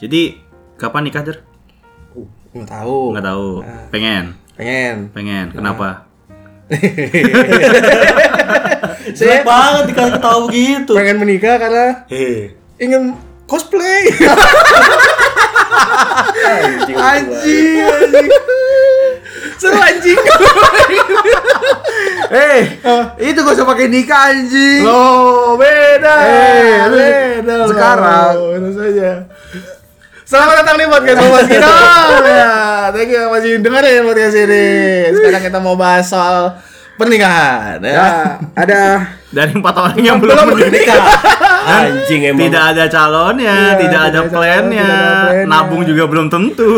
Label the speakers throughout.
Speaker 1: Jadi kapan nikah, Der?
Speaker 2: Uh, nggak tahu.
Speaker 1: Nggak tahu.
Speaker 3: Ah.
Speaker 1: Pengen,
Speaker 2: Pengen.
Speaker 1: pengen. Kenapa?
Speaker 4: Jelek banget dikasih ketawa begitu.
Speaker 2: Pengen menikah karena
Speaker 3: Ah.
Speaker 4: Hei,
Speaker 2: ingin cosplay. anjing.
Speaker 4: anjing.
Speaker 2: anjing. Seru anjing.
Speaker 3: Eh, itu gak usah pakai nikah anjing.
Speaker 2: Loh, beda.
Speaker 3: Eh, lu sekarang.
Speaker 2: saja. Selamat datang di podcast Bobas kita. Ya, thank you masih dengerin podcast ini. Sekarang kita mau bahas soal pernikahan. Ya.
Speaker 3: Ya, ada
Speaker 1: Dari empat orang yang belum,
Speaker 2: Belum
Speaker 1: menikah,
Speaker 2: menikah.
Speaker 4: Anjing emang.
Speaker 1: tidak ada calonnya, tidak
Speaker 3: Iya, tidak
Speaker 1: ada
Speaker 3: ada
Speaker 1: plannya,
Speaker 3: calon, tidak ada plannya. Ah.
Speaker 1: nabung juga belum tentu.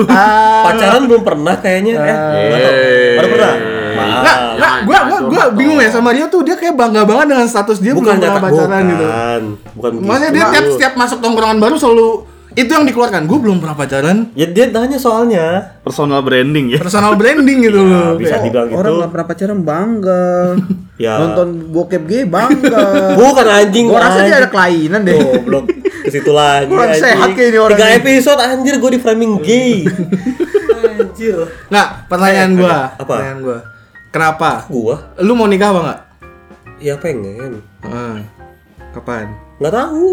Speaker 4: Pacaran belum pernah kayaknya. Eh, nggak tahu. baru pernah.
Speaker 2: Nggak,
Speaker 4: Maaf.
Speaker 2: nggak, gua, gua, gua bingung ya sama dia tuh dia kayak bangga banget dengan status dia belum
Speaker 4: Bukan nyata
Speaker 2: pernah pacaran gitu.
Speaker 4: Bukan. Bukan Iya. begitu.
Speaker 2: Maksudnya dia tiap setiap masuk tongkrongan baru selalu itu yang dikeluarkan. Gue belum pernah pacaran.
Speaker 4: Ya dia tanya soalnya.
Speaker 1: Personal branding ya.
Speaker 2: Personal branding gitu loh.
Speaker 4: Nah, bisa dibilang gitu.
Speaker 3: orang gak pernah pacaran bangga.
Speaker 4: Ya.
Speaker 3: Nonton bokep gay bangga.
Speaker 4: Bukan anjing.
Speaker 3: Gua rasa
Speaker 4: anjing.
Speaker 3: dia ada kelainan deh.
Speaker 4: Goblok. Ke situ lagi.
Speaker 3: Kurang
Speaker 4: anjing.
Speaker 3: sehat kayak ini orang
Speaker 4: Tiga
Speaker 3: ini.
Speaker 4: episode anjir gue di framing gay. anjir.
Speaker 2: Nggak, pertanyaan gua.
Speaker 4: Apa?
Speaker 2: Pertanyaan gua. Kenapa?
Speaker 4: Gua
Speaker 2: Lu mau nikah apa enggak?
Speaker 4: ya pengen.
Speaker 2: Kapan?
Speaker 4: Nggak tahu.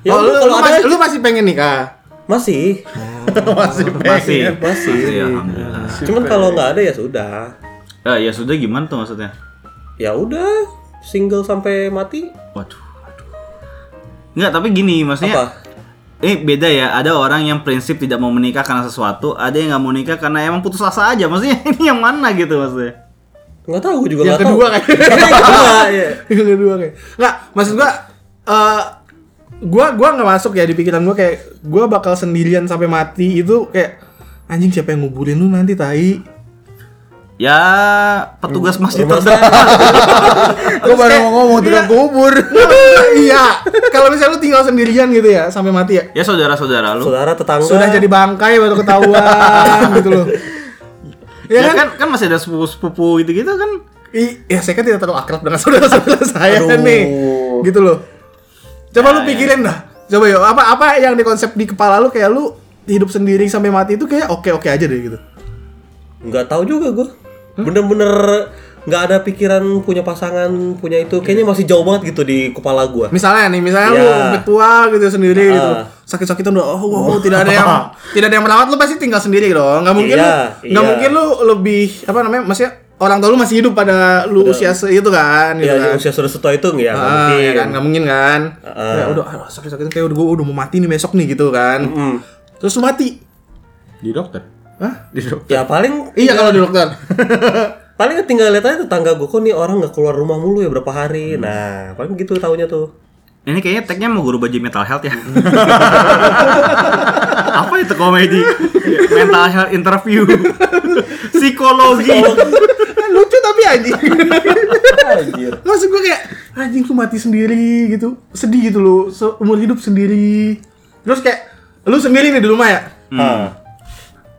Speaker 4: Ya
Speaker 2: oh, lu,
Speaker 4: gua
Speaker 2: lu
Speaker 4: kalau ada
Speaker 2: masih, lu masih pengen nikah?
Speaker 4: masih.
Speaker 2: masih
Speaker 1: Masih,
Speaker 4: Masih.
Speaker 1: masih, alhamdulillah.
Speaker 4: Cuman kalau nggak ada ya sudah.
Speaker 1: Eh, ya sudah gimana tuh maksudnya?
Speaker 4: Ya udah single sampai mati.
Speaker 1: Waduh, aduh. Enggak, tapi gini
Speaker 2: Iya.
Speaker 1: maksudnya.
Speaker 4: Apa?
Speaker 1: Eh beda ya, ada orang yang prinsip tidak mau menikah karena sesuatu, ada yang nggak mau nikah karena emang putus asa aja. Maksudnya ini yang mana gitu maksudnya?
Speaker 4: Nggak tahu gua juga
Speaker 2: Yang
Speaker 4: nggak tahu.
Speaker 2: kedua kan? kayak.
Speaker 4: Yang kedua, iya.
Speaker 2: yang kedua kayak nggak maksud gua eh gua gua nggak masuk ya di pikiran gua kayak gua bakal sendirian sampai mati itu kayak anjing siapa yang nguburin lu nanti tai
Speaker 1: Ya petugas masjid terdekat.
Speaker 3: Gua baru mau ngomong tidak kubur.
Speaker 2: iya kalau misalnya lu tinggal sendirian gitu ya sampai mati ya
Speaker 1: Ya saudara-saudara lu.
Speaker 4: Saudara tetangga.
Speaker 2: sudah jadi bangkai baru ketahuan gitu loh
Speaker 1: Ya,
Speaker 2: ya kan
Speaker 1: kan? kan masih ada sepupu-sepupu gitu-gitu kan.
Speaker 2: I, ya saya kan tidak terlalu akrab dengan saudara-saudara saya
Speaker 4: Aduh. Ya,
Speaker 2: nih gitu loh coba lu pikirin dah coba yuk apa apa yang di konsep di kepala lu kayak lu hidup sendiri sampai mati itu kayak oke oke aja deh gitu
Speaker 4: Nggak tahu juga gua. Bener-bener nggak ada pikiran punya pasangan punya itu kayaknya
Speaker 2: Iya.
Speaker 4: masih jauh banget gitu di kepala gua
Speaker 2: Misalnya nih, misalnya lu
Speaker 4: Iya.
Speaker 2: betua gitu sendiri
Speaker 4: Heeh.
Speaker 2: gitu. Sakit-sakitan udah oh wow, tidak ada yang tidak ada yang merawat lu pasti tinggal sendiri dong. Nggak mungkin
Speaker 4: Iya,
Speaker 2: lu nggak
Speaker 4: iya.
Speaker 2: mungkin lu lebih apa namanya? Maksudnya orang tua lu masih hidup pada lu usia itu kan gitu
Speaker 4: ya,
Speaker 2: kan.
Speaker 4: usia sudah setua itu nggak ya nggak
Speaker 2: Ah,
Speaker 4: mungkin
Speaker 2: ya kan nggak mungkin kan.
Speaker 4: Heeh.
Speaker 2: Ya, udah aduh, sakit-sakitan kayak udah gua udah mau mati nih besok nih gitu kan.
Speaker 4: Mm.
Speaker 2: Terus lu mati.
Speaker 1: Di dokter.
Speaker 2: Hah?
Speaker 1: Di dokter.
Speaker 4: ya paling
Speaker 2: Iya kalau di dokter.
Speaker 4: paling tinggal lihat aja tetangga gua kok nih orang nggak keluar rumah mulu ya berapa hari
Speaker 2: Hmm.
Speaker 4: nah paling gitu taunya tuh
Speaker 1: Ini kayaknya tagnya mau guru baju mental health ya. Apa itu komedi? mental health interview. Psikologi.
Speaker 2: Lucu tapi anjing.
Speaker 4: anjir
Speaker 2: Maksud gue kayak anjing lu mati sendiri gitu. Sedih gitu lu seumur hidup sendiri. Terus kayak lu sendiri nih di rumah ya.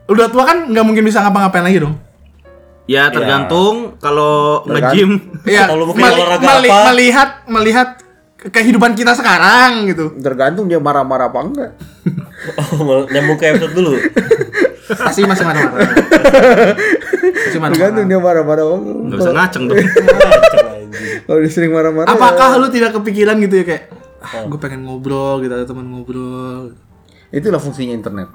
Speaker 2: Udah tua kan nggak mungkin bisa ngapa-ngapain lagi dong.
Speaker 1: Ya tergantung kalau nge-gym
Speaker 2: Iya.
Speaker 4: Kalau lu mungkin olahraga apa?
Speaker 2: melihat melihat ke- kehidupan kita sekarang gitu.
Speaker 3: Tergantung dia marah-marah apa enggak.
Speaker 4: Oh, mau nyambung ke episode dulu.
Speaker 2: Pasti masih marah-marah. Masih
Speaker 3: Tergantung
Speaker 2: marah-marah.
Speaker 3: Kan dia marah-marah apa enggak.
Speaker 1: nggak bisa ngaceng tuh.
Speaker 4: Kacau, anjing.
Speaker 3: Kalau dia sering marah-marah. ya-
Speaker 2: Apakah lu tidak kepikiran gitu ya kayak ah, gue pengen ngobrol gitu ada teman ngobrol.
Speaker 3: Itulah fungsinya internet.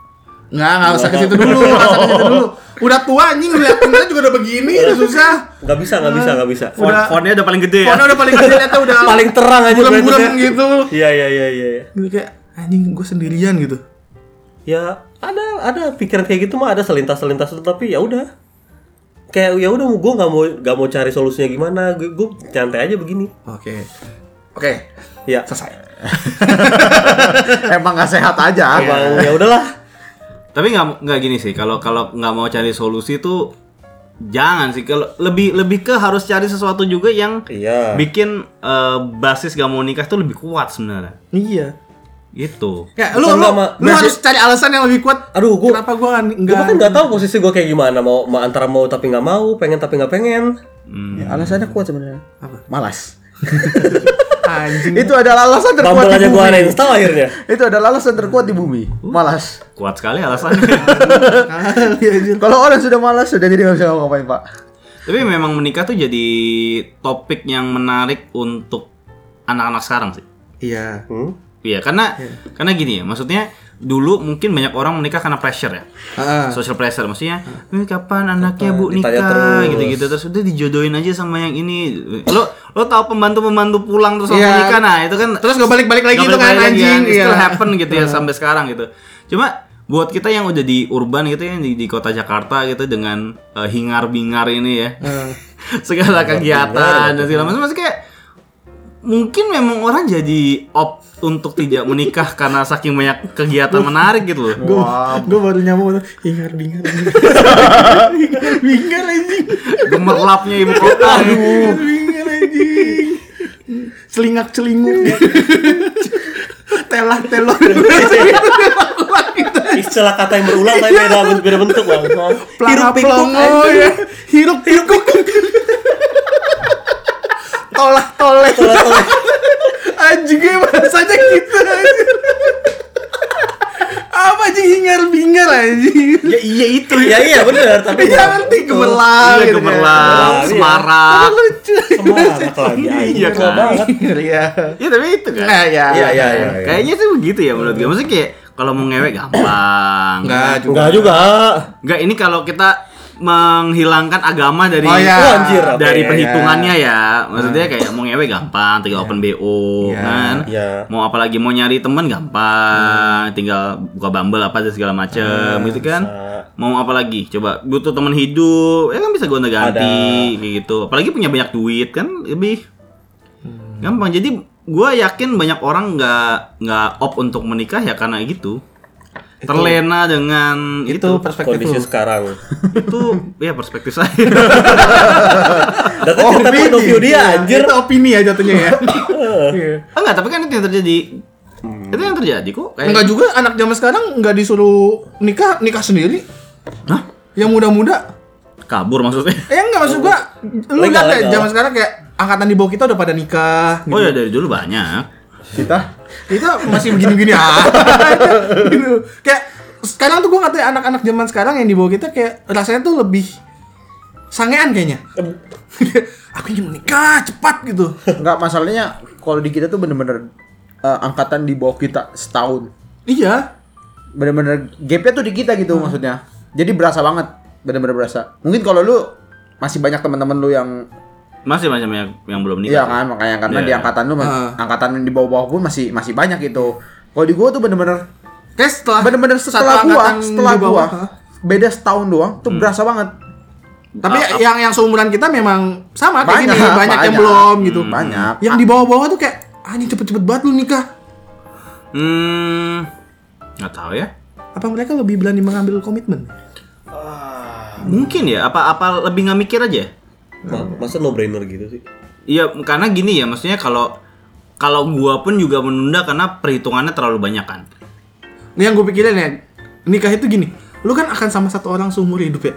Speaker 2: Nggak, nggak usah ke situ dulu, nggak usah ke situ dulu. Udah tua anjing lihat kita juga udah begini, udah susah.
Speaker 4: Nggak bisa, nggak bisa, nggak bisa.
Speaker 1: Font-
Speaker 2: Udah-
Speaker 1: Fontnya udah paling gede ya.
Speaker 2: Pokoknya udah paling kecil lihatnya udah
Speaker 4: Paling terang aja
Speaker 2: buram-buram
Speaker 4: brandnya.
Speaker 2: gitu.
Speaker 4: Iya, iya, iya, iya. iya.
Speaker 2: Gitu kayak anjing gue sendirian gitu.
Speaker 4: Ya ada, ada pikiran kayak gitu mah ada selintas-selintas itu tapi ya udah. Kayak ya udah, gue nggak mau nggak mau cari solusinya gimana, gue gue nyantai aja begini.
Speaker 2: Oke. Oke,
Speaker 4: Ya,
Speaker 2: selesai.
Speaker 3: Emang gak sehat aja.
Speaker 4: emang ya udahlah.
Speaker 1: Tapi nggak nggak gini sih. Kalau kalau nggak mau cari solusi tuh jangan sih. Kalau lebih lebih ke harus cari sesuatu juga yang
Speaker 4: Iya.
Speaker 1: bikin eh, basis gak mau nikah tuh lebih kuat sebenarnya.
Speaker 2: Iya.
Speaker 1: Gitu.
Speaker 2: Kayak lu lu,
Speaker 4: Bukan nggak, Ma.
Speaker 2: lu harus cari alasan yang lebih kuat.
Speaker 4: Aduh, gue
Speaker 2: Kenapa gue
Speaker 4: gue
Speaker 2: enggak
Speaker 4: kan nggak tahu posisi gue kayak gimana mau, mau antara mau tapi nggak mau pengen tapi nggak pengen
Speaker 3: Ya, alasannya kuat sebenarnya.
Speaker 2: Apa?
Speaker 3: Malas.
Speaker 2: Anjing.
Speaker 3: Itu adalah alasan terkuat
Speaker 4: Bumble
Speaker 3: di
Speaker 4: aja
Speaker 3: bumi.
Speaker 4: gua uninstall akhirnya.
Speaker 3: Itu adalah alasan terkuat di bumi. Malas.
Speaker 1: Kuat sekali alasannya.
Speaker 2: Kali anjir.
Speaker 3: Kalau orang sudah malas sudah jadi nggak bisa ngapain pak.
Speaker 1: Tapi memang menikah tuh jadi topik yang menarik untuk anak-anak sekarang sih.
Speaker 2: Iya.
Speaker 4: Hmm?
Speaker 1: Iya, karena karena gini ya, maksudnya dulu mungkin banyak orang menikah karena pressure ya.
Speaker 2: Heeh.
Speaker 1: Social pressure maksudnya, "Eh, kapan anaknya Bu
Speaker 4: Ditanya
Speaker 1: nikah?"
Speaker 4: terus.
Speaker 1: gitu-gitu terus udah dijodohin aja sama yang ini. Lo lo tahu pembantu-pembantu pulang terus langsung
Speaker 2: Iya.
Speaker 1: nikah nah, itu kan
Speaker 2: Terus gak balik-balik lagi
Speaker 1: Nggak
Speaker 2: itu kan
Speaker 1: balik-balik lagi
Speaker 2: anjing.
Speaker 1: kan. It
Speaker 2: Iya.
Speaker 1: still happen gitu ya sampai sekarang gitu. Cuma buat kita yang udah di urban gitu ya di, di kota Jakarta gitu dengan eh, hingar-bingar ini ya. segala kegiatan
Speaker 2: gitu.
Speaker 1: dan segala macam masih kayak mungkin memang orang jadi opt untuk tidak menikah karena saking banyak kegiatan menarik gitu loh.
Speaker 2: Gue gue baru nyamuk ingar bingar ingar bingar anjing
Speaker 1: Gemerlapnya ibu kota. Iya,
Speaker 2: ingar bingar anjing celingak celinguk telah telok
Speaker 4: Istilah kata yang berulang tapi beda beda bentuk bang.
Speaker 2: Pelana
Speaker 4: pikuk
Speaker 2: pelongo ya hirup pikuk tolah
Speaker 4: eh,
Speaker 2: toleh anjing gue bahasanya gitu anjing apa anjing hingar bingar anjing
Speaker 1: ya iya itu
Speaker 4: Ya iya benar tapi
Speaker 2: Iya ngerti gemerlap
Speaker 1: Iya
Speaker 2: gitu kan.
Speaker 1: gemerlap,
Speaker 4: Iya.
Speaker 1: semarak.
Speaker 2: lucu
Speaker 4: semangat lagi.
Speaker 1: Iya
Speaker 4: Iya
Speaker 1: kan?
Speaker 4: banget.
Speaker 2: Iya.
Speaker 1: Iya tapi itu kan.
Speaker 2: Nah, ya.
Speaker 4: Iya iya iya.
Speaker 1: Kayaknya sih begitu ya menurut gue. Maksudnya kayak kalau mau ngewek gampang.
Speaker 2: Enggak juga.
Speaker 4: Enggak juga.
Speaker 1: Enggak ini kalau kita menghilangkan agama dari
Speaker 2: Oh, iya. Hmm.
Speaker 4: Oh, anjir. oke.
Speaker 1: dari
Speaker 2: ya,
Speaker 1: perhitungannya ya. Maksudnya kayak mau ngewe gampang, tinggal open BO
Speaker 2: Ya,
Speaker 1: kan.
Speaker 4: ya.
Speaker 1: Mau apalagi mau nyari temen
Speaker 2: Hmm.
Speaker 1: gampang, tinggal buka Bumble apa aja segala macem gitu kan. Mau apalagi? Coba butuh temen hidup, ya kan bisa gonta-ganti kayak gitu. Apalagi punya banyak duit kan lebih
Speaker 2: Hmm.
Speaker 1: gampang. Jadi gua yakin banyak orang nggak nggak opt untuk menikah ya karena gitu. Terlena dengan
Speaker 2: Itu perspektif
Speaker 4: Kondisi
Speaker 2: lu.
Speaker 4: sekarang.
Speaker 1: itu ya perspektif saya
Speaker 4: Dan kan cerita point of view dia anjir.
Speaker 2: Oh, Iya, Itu opini ya jatuhnya ya. Iya.
Speaker 1: enggak tapi kan itu yang terjadi
Speaker 3: Hmm.
Speaker 1: itu yang terjadi kok
Speaker 3: Eh.
Speaker 1: kayak
Speaker 2: Enggak juga anak zaman sekarang enggak disuruh nikah, nikah sendiri.
Speaker 1: Hah?
Speaker 2: Yang muda-muda.
Speaker 1: kabur maksudnya
Speaker 2: Eh enggak maksud gua lu lihat
Speaker 4: Legal,
Speaker 2: ya
Speaker 4: legal.
Speaker 2: zaman sekarang kayak angkatan di bawah kita udah pada nikah.
Speaker 1: oh ya dari dulu banyak
Speaker 3: Kita
Speaker 2: Itu masih begini-begini aja. gitu. Kayak sekarang tuh gua ngatain anak-anak zaman sekarang yang di bawah kita kayak rasanya tuh lebih sangean kayaknya. Aku ingin menikah cepat gitu.
Speaker 3: nggak masalahnya kalau di kita tuh bener-bener eh, angkatan di bawah kita setahun.
Speaker 2: iya.
Speaker 3: Bener-bener gapnya tuh di kita gitu maksudnya. Jadi berasa banget, bener-bener berasa. Mungkin kalau lu masih banyak teman-teman lu yang
Speaker 1: masih banyak yang, yang belum nikah
Speaker 3: Iya kan makanya karena
Speaker 1: Iya.
Speaker 3: di angkatan lu mas-
Speaker 2: Ah.
Speaker 3: angkatan di bawah-bawah pun masih masih banyak gitu. Kalau di gua tuh bener-bener
Speaker 2: Kayak setelah
Speaker 3: bener-bener
Speaker 2: Ah, satu
Speaker 3: setelah gua
Speaker 2: angkatan
Speaker 3: setelah
Speaker 2: di
Speaker 3: gua
Speaker 2: bawah, ah. Hmm. ha?
Speaker 3: beda setahun doang tuh berasa banget.
Speaker 2: Tapi
Speaker 1: Ah,
Speaker 2: yang yang seumuran kita memang sama kayak
Speaker 3: Banyak,
Speaker 2: gini, banyak, yang
Speaker 3: banyak.
Speaker 2: belum gitu.
Speaker 3: Hmm, banyak.
Speaker 2: Yang di bawah-bawah tuh kayak anjing cepet-cepet banget lu nikah.
Speaker 1: hmm nggak tahu ya
Speaker 2: Apa mereka lebih berani mengambil komitmen?
Speaker 1: mungkin ya apa apa lebih nggak mikir aja
Speaker 4: Ma- Masa no brainer gitu sih?
Speaker 1: Iya, karena gini ya, maksudnya kalau kalau gua pun juga menunda karena perhitungannya terlalu banyak kan.
Speaker 2: Nih yang gue pikirin ya, nikah itu gini. Lu kan akan sama satu orang seumur hidup ya.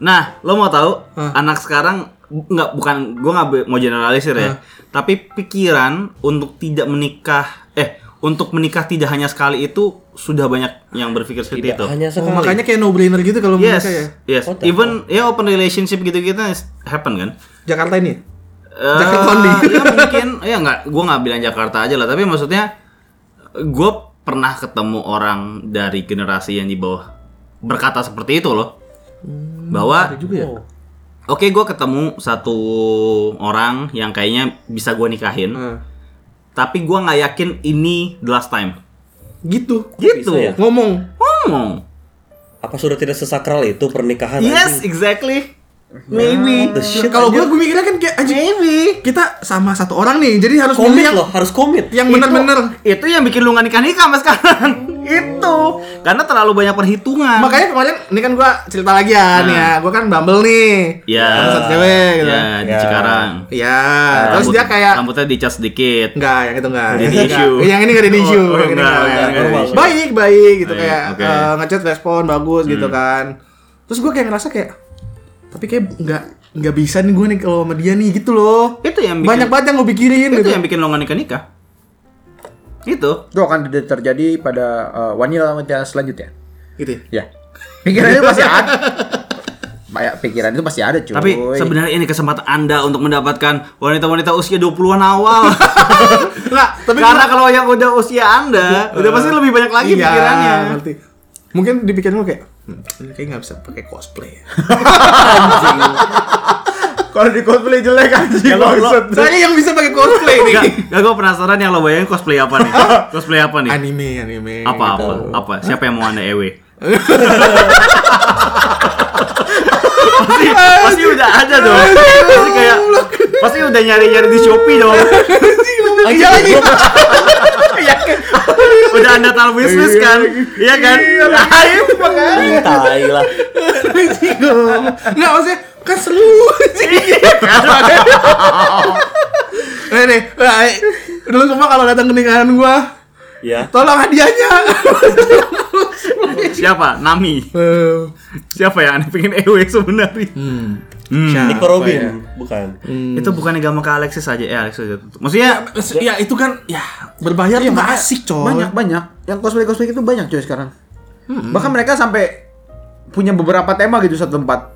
Speaker 1: Nah, lo mau tahu
Speaker 2: Hah?
Speaker 1: anak sekarang bu- nggak bukan gua nggak be- mau generalisir ya, tapi pikiran untuk tidak menikah eh untuk menikah tidak hanya sekali itu sudah banyak yang berpikir seperti itu.
Speaker 4: Gitu.
Speaker 2: Oh,
Speaker 4: Hanya sekali.
Speaker 2: makanya kayak no brainer gitu kalau
Speaker 1: Yes,
Speaker 2: menikah ya.
Speaker 1: yes.
Speaker 4: Oh, tak.
Speaker 1: Even ya open relationship gitu-gitu is- happen kan.
Speaker 2: Jakarta ini. ya?
Speaker 1: Eh,
Speaker 2: Jakarta only.
Speaker 1: ya mungkin ya nggak gua nggak bilang Jakarta aja lah, tapi maksudnya gua pernah ketemu orang dari generasi yang di bawah berkata seperti itu loh. Bahwa
Speaker 2: Ada juga ya.
Speaker 4: Oh.
Speaker 1: Oke, gue ketemu satu orang yang kayaknya bisa gue nikahin,
Speaker 2: Nah,
Speaker 1: tapi gue nggak yakin ini the last time.
Speaker 2: gitu.
Speaker 1: Gitu.
Speaker 4: bisa ya?
Speaker 2: Ngomong.
Speaker 1: Ngomong.
Speaker 4: Apa sudah tidak sesakral itu
Speaker 2: Nah,
Speaker 4: pernikahan?
Speaker 1: Yes,
Speaker 4: anjing? Ah,
Speaker 1: exactly. Maybe.
Speaker 4: The shit,
Speaker 2: Kalau gue
Speaker 4: anjir.
Speaker 2: gue mikirnya kan kayak anjing
Speaker 1: Maybe.
Speaker 2: kita sama satu orang nih, jadi harus Ya. milih
Speaker 4: komit
Speaker 2: yang
Speaker 4: loh, harus komit.
Speaker 2: yang benar-benar.
Speaker 1: Itu yang bikin lu nggak nikah nikah mas sekarang. itu.
Speaker 2: Oh.
Speaker 1: Karena terlalu banyak perhitungan.
Speaker 2: Makanya kemarin ini kan gua cerita lagi ya nih ya. Gua kan Bumble nih.
Speaker 1: Ya.
Speaker 2: Sama satu cewek gitu.
Speaker 1: Ya,
Speaker 2: Ya.
Speaker 1: di Cikarang.
Speaker 2: terus
Speaker 1: Rambut-
Speaker 2: dia kayak
Speaker 1: rambutnya dicas sedikit.
Speaker 2: enggak yang itu enggak.
Speaker 1: Jadi
Speaker 2: Yang ini
Speaker 1: issue.
Speaker 2: enggak. Yang ini enggak ada
Speaker 1: Oh,
Speaker 2: issue.
Speaker 1: oh,
Speaker 2: yang ini
Speaker 1: enggak,
Speaker 2: enggak.
Speaker 1: enggak,
Speaker 4: enggak ada issue.
Speaker 2: Baik, baik gitu
Speaker 1: Iya,
Speaker 2: kayak
Speaker 1: oke. Hmm.
Speaker 2: eh, ngechat respon bagus gitu kan. Terus gua kayak ngerasa kayak tapi kayak enggak nggak bisa nih gue nih kalau sama dia nih gitu loh
Speaker 1: Itu yang bikin-
Speaker 2: banyak banget yang gue pikirin
Speaker 1: itu
Speaker 2: gitu
Speaker 1: yang bikin lo nggak nikah nikah Gitu. itu
Speaker 3: Itu akan ter- terjadi pada eh, wanita-wanita selanjutnya.
Speaker 2: gitu ya.
Speaker 3: Ya. Pikiran itu pasti ada. Banyak pikiran itu pasti ada, cuy.
Speaker 1: Tapi sebenarnya ini kesempatan Anda untuk mendapatkan wanita-wanita usia 20-an awal. Nggak,
Speaker 2: tapi
Speaker 1: karena kalau yang udah usia Anda, udah pasti lebih banyak lagi
Speaker 2: Iya,
Speaker 1: pikirannya.
Speaker 2: ngerti. mungkin dipikirin gue kayak "Hmm, ini kayak nggak bisa pakai cosplay ya."
Speaker 3: kalau di cosplay jelek
Speaker 2: Ya,
Speaker 3: anjing.
Speaker 4: Kalau lo-
Speaker 3: maksud.
Speaker 2: saya yang bisa pakai cosplay nih
Speaker 1: Nggak, nggak, gue penasaran yang lo bayangin cosplay apa nih? cosplay apa nih?
Speaker 2: anime anime gitu.
Speaker 1: Apa apa apa? Siapa yang mau Anda ewe? pasti, pasti udah ada dong. Pasti kayak pasti udah nyari-nyari di Shopee dong.
Speaker 2: lagi lagi
Speaker 1: Udah Anda taruh wishlist kan? Iya kan? Nah,
Speaker 2: iya,
Speaker 1: itu makanya.
Speaker 4: Tai lah.
Speaker 2: kan? nggak maksudnya kan seru
Speaker 3: Iya, kan?
Speaker 2: Eh nih, eh, lu semua kalau datang ke nikahan gua,
Speaker 4: Ya.
Speaker 2: tolong hadiahnya.
Speaker 1: Siapa? Nami.
Speaker 2: Eh,
Speaker 1: Siapa yang aneh pengen EW sebenarnya? Hmm.
Speaker 2: siapa
Speaker 4: Nico
Speaker 2: ya?
Speaker 4: Robin, bukan.
Speaker 1: Itu bukannya gak ke Alexis aja eh Alexis aja tutup. Maksudnya
Speaker 2: Ya itu kan ya berbayar tuh nggak asik coy.
Speaker 3: Iya, Banyak banyak. Yang cosplay cosplay itu banyak cuy sekarang.
Speaker 2: Hmm.
Speaker 3: Bahkan mereka sampai punya beberapa tema gitu satu tempat.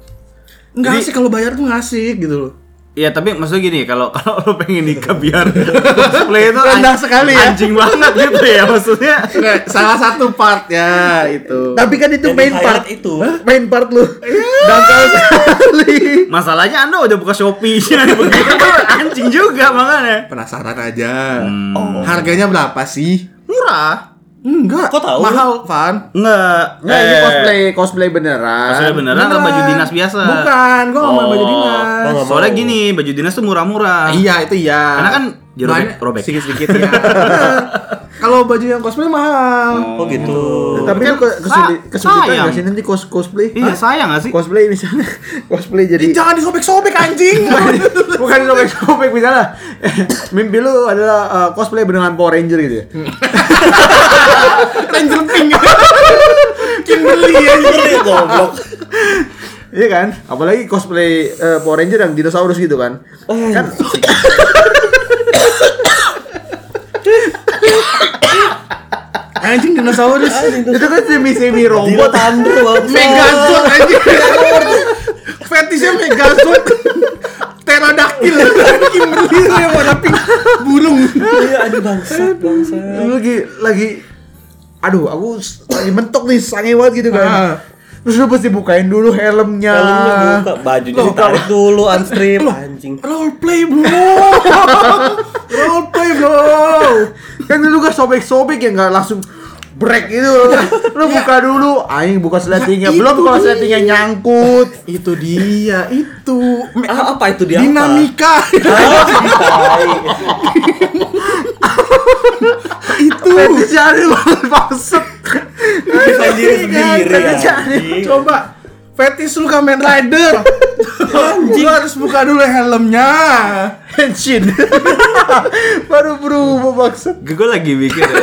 Speaker 2: Nggak
Speaker 1: Jadi-
Speaker 2: asik kalau bayar tuh nggak asik gitu loh.
Speaker 1: ya tapi maksudnya gini kalau kalau lo pengen nikah biar cosplay itu an-
Speaker 2: Rendah sekali ya.
Speaker 1: Anjing banget gitu ya maksudnya.
Speaker 2: Nggak, salah satu part ya itu.
Speaker 3: Tapi kan itu
Speaker 4: Yang
Speaker 3: main
Speaker 4: di-highlight
Speaker 3: part
Speaker 4: itu.
Speaker 3: Main part lu.
Speaker 2: Iya.
Speaker 3: Dangkal sekali.
Speaker 1: Masalahnya Anda udah buka Shopee begitu anjing juga makanya.
Speaker 2: Penasaran aja.
Speaker 1: Hmm.
Speaker 2: Harganya berapa sih?
Speaker 1: Murah.
Speaker 2: Enggak.
Speaker 4: Kok tahu?
Speaker 2: Mahal, Van.
Speaker 1: Enggak.
Speaker 3: Nggak,
Speaker 4: Eh,
Speaker 3: ini cosplay cosplay beneran.
Speaker 1: Cosplay beneran atau baju dinas biasa?
Speaker 2: Bukan, gua nggak mau baju
Speaker 4: Oh,
Speaker 2: dinas.
Speaker 4: gua nggak
Speaker 1: Soalnya
Speaker 4: mau.
Speaker 1: gini, baju dinas tuh
Speaker 2: Ah,
Speaker 1: murah-murah.
Speaker 2: Iya itu iya.
Speaker 1: Karena kan dirobek-
Speaker 2: Banyak-
Speaker 1: robek.
Speaker 2: Sedikit-sedikit
Speaker 4: iya.
Speaker 2: ya. Kalau baju yang cosplay mahal.
Speaker 4: Oh gitu.
Speaker 3: Tapi
Speaker 1: Kan
Speaker 3: lu ke- kesuli-
Speaker 1: sa-
Speaker 3: kesulitan
Speaker 1: sayang.
Speaker 3: nggak sih nanti cos cosplay?
Speaker 1: Iya, sayang gak sih?
Speaker 3: Cosplay misalnya cosplay
Speaker 2: Ih,
Speaker 3: jadi
Speaker 2: Jangan disobek-sobek anjing.
Speaker 3: bukan sobek-sobek misalnya mimpi lu adalah uh, cosplay dengan Power Ranger gitu ya.
Speaker 2: Ranger Pink. Kimberly ya.
Speaker 4: Beli goblok.
Speaker 3: Iya kan? Apalagi cosplay eh, Power Ranger yang dinosaurus gitu kan. Kan
Speaker 2: Anjing dinosaurus.
Speaker 3: itu kan semi semi
Speaker 4: Dino
Speaker 3: robot.
Speaker 4: Thunder bangsat.
Speaker 2: Megazord anjing. Fetisnya Megazord. Pterodactyl. Kimberly itu yang warna pink. Burung.
Speaker 4: Iya, aduh bangsat, bangsat.
Speaker 3: Lu lagi lagi aduh aku s- lagi mentok nih sange banget gitu kan.
Speaker 2: Ah.
Speaker 3: Terus lu pasti bukain dulu helmnya.
Speaker 4: Kalau lu buka bajunya
Speaker 2: Loh,
Speaker 4: ditarik dulu unstrip anjing.
Speaker 2: Role play bro. Role play bro.
Speaker 3: Kan lu kan sobek-sobek ya nggak langsung break gitu. Lu buka dulu, aing buka
Speaker 2: Ya,
Speaker 3: sletingnya.
Speaker 2: itu
Speaker 3: Belum kalau
Speaker 2: dia.
Speaker 3: sletingnya nyangkut.
Speaker 2: Itu dia, itu. Me-
Speaker 4: Ah, apa itu dia? apa?
Speaker 2: Dinamika.
Speaker 4: Ah, tai.
Speaker 2: itu.
Speaker 3: Fetisnya aneh banget maksud.
Speaker 4: Bisa diri sendiri
Speaker 3: Fetisnya aneh.
Speaker 4: anjing.
Speaker 2: Iya, Coba fetis lu Kamen Rider. Anjing. Lu harus buka dulu helmnya.
Speaker 3: Henshin. Baru berubah maksud.
Speaker 1: Gue lagi mikir. ya.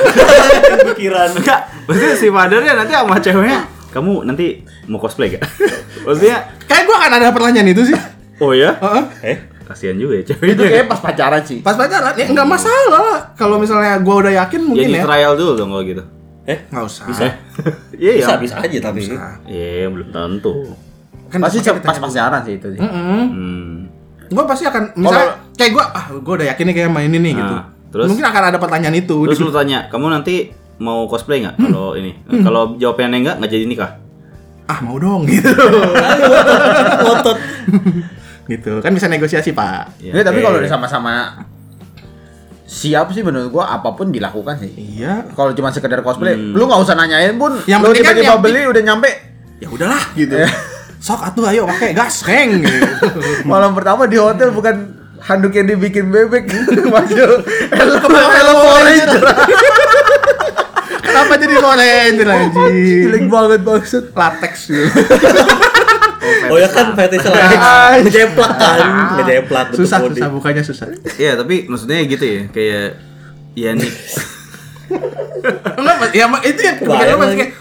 Speaker 4: Iya, Pikiran.
Speaker 1: Enggak, maksudnya si padarnya nanti sama ceweknya kamu nanti mau cosplay gak? maksudnya
Speaker 2: Kayak gua akan ada pertanyaan itu sih.
Speaker 1: oh ya
Speaker 2: Heeh.
Speaker 4: Eh,
Speaker 1: kasihan juga ya
Speaker 3: Itu
Speaker 1: ceweknya
Speaker 3: kayak pas pacaran sih.
Speaker 2: Pas pacaran ya enggak masalah. Kalau misalnya gua udah yakin
Speaker 1: ya
Speaker 2: mungkin
Speaker 4: Iya,
Speaker 1: di
Speaker 2: ya.
Speaker 1: trial dulu dong kalau gitu
Speaker 4: eh,
Speaker 2: Enggak usah.
Speaker 1: iya ya
Speaker 4: bisa bisa aja tapi.
Speaker 1: iya belum tentu
Speaker 2: Kan
Speaker 3: Pasti
Speaker 2: makanya
Speaker 3: pas pacaran sih itu sih.
Speaker 2: Mm-mm.
Speaker 1: hmm.
Speaker 2: Gua pasti akan misalnya kayak gua ah gua udah yakin nih kayak main ini nih gitu.
Speaker 1: Nah, terus?
Speaker 2: Mungkin akan ada pertanyaan itu.
Speaker 1: terus lu tanya kamu nanti mau cosplay nggak kalau ini Nah, kalau jawabannya enggak nggak jadi nikah
Speaker 2: ah mau dong gitu.
Speaker 4: Otot.
Speaker 2: gitu. Kan bisa negosiasi, Pak.
Speaker 1: Iya.
Speaker 3: Ya,
Speaker 1: Eh,
Speaker 3: tapi kalau udah sama-sama siap sih menurut gua apapun dilakukan sih.
Speaker 2: Iya.
Speaker 3: Kalau cuma sekedar cosplay, lu nggak usah nanyain pun.
Speaker 2: Yang
Speaker 3: lu
Speaker 2: penting kan
Speaker 3: tiba-tiba
Speaker 2: yang-
Speaker 3: beli udah nyampe.
Speaker 2: Ya udahlah
Speaker 3: Gitu.
Speaker 2: Sok atuh ayo pakai gas, Heng. Gitu.
Speaker 3: Malam pertama di hotel bukan handuk yang dibikin bebek masuk helm
Speaker 2: helm
Speaker 3: helm
Speaker 2: Power
Speaker 3: orange
Speaker 2: Kenapa jadi orange
Speaker 3: jelek
Speaker 2: anjing?
Speaker 3: banget maksud
Speaker 2: Latex gitu.
Speaker 4: Oh ya kan fetishnya lagi. Ngejeplak kan, ngejeplak bentuk
Speaker 2: Iya. susah,
Speaker 4: body.
Speaker 2: susah bukannya susah.
Speaker 1: iya tapi maksudnya gitu ya kayak ya nih
Speaker 2: Enggak, Mas. ya ma- itu yang kepikiran
Speaker 4: Kebayang
Speaker 2: lu, Mas, kayak,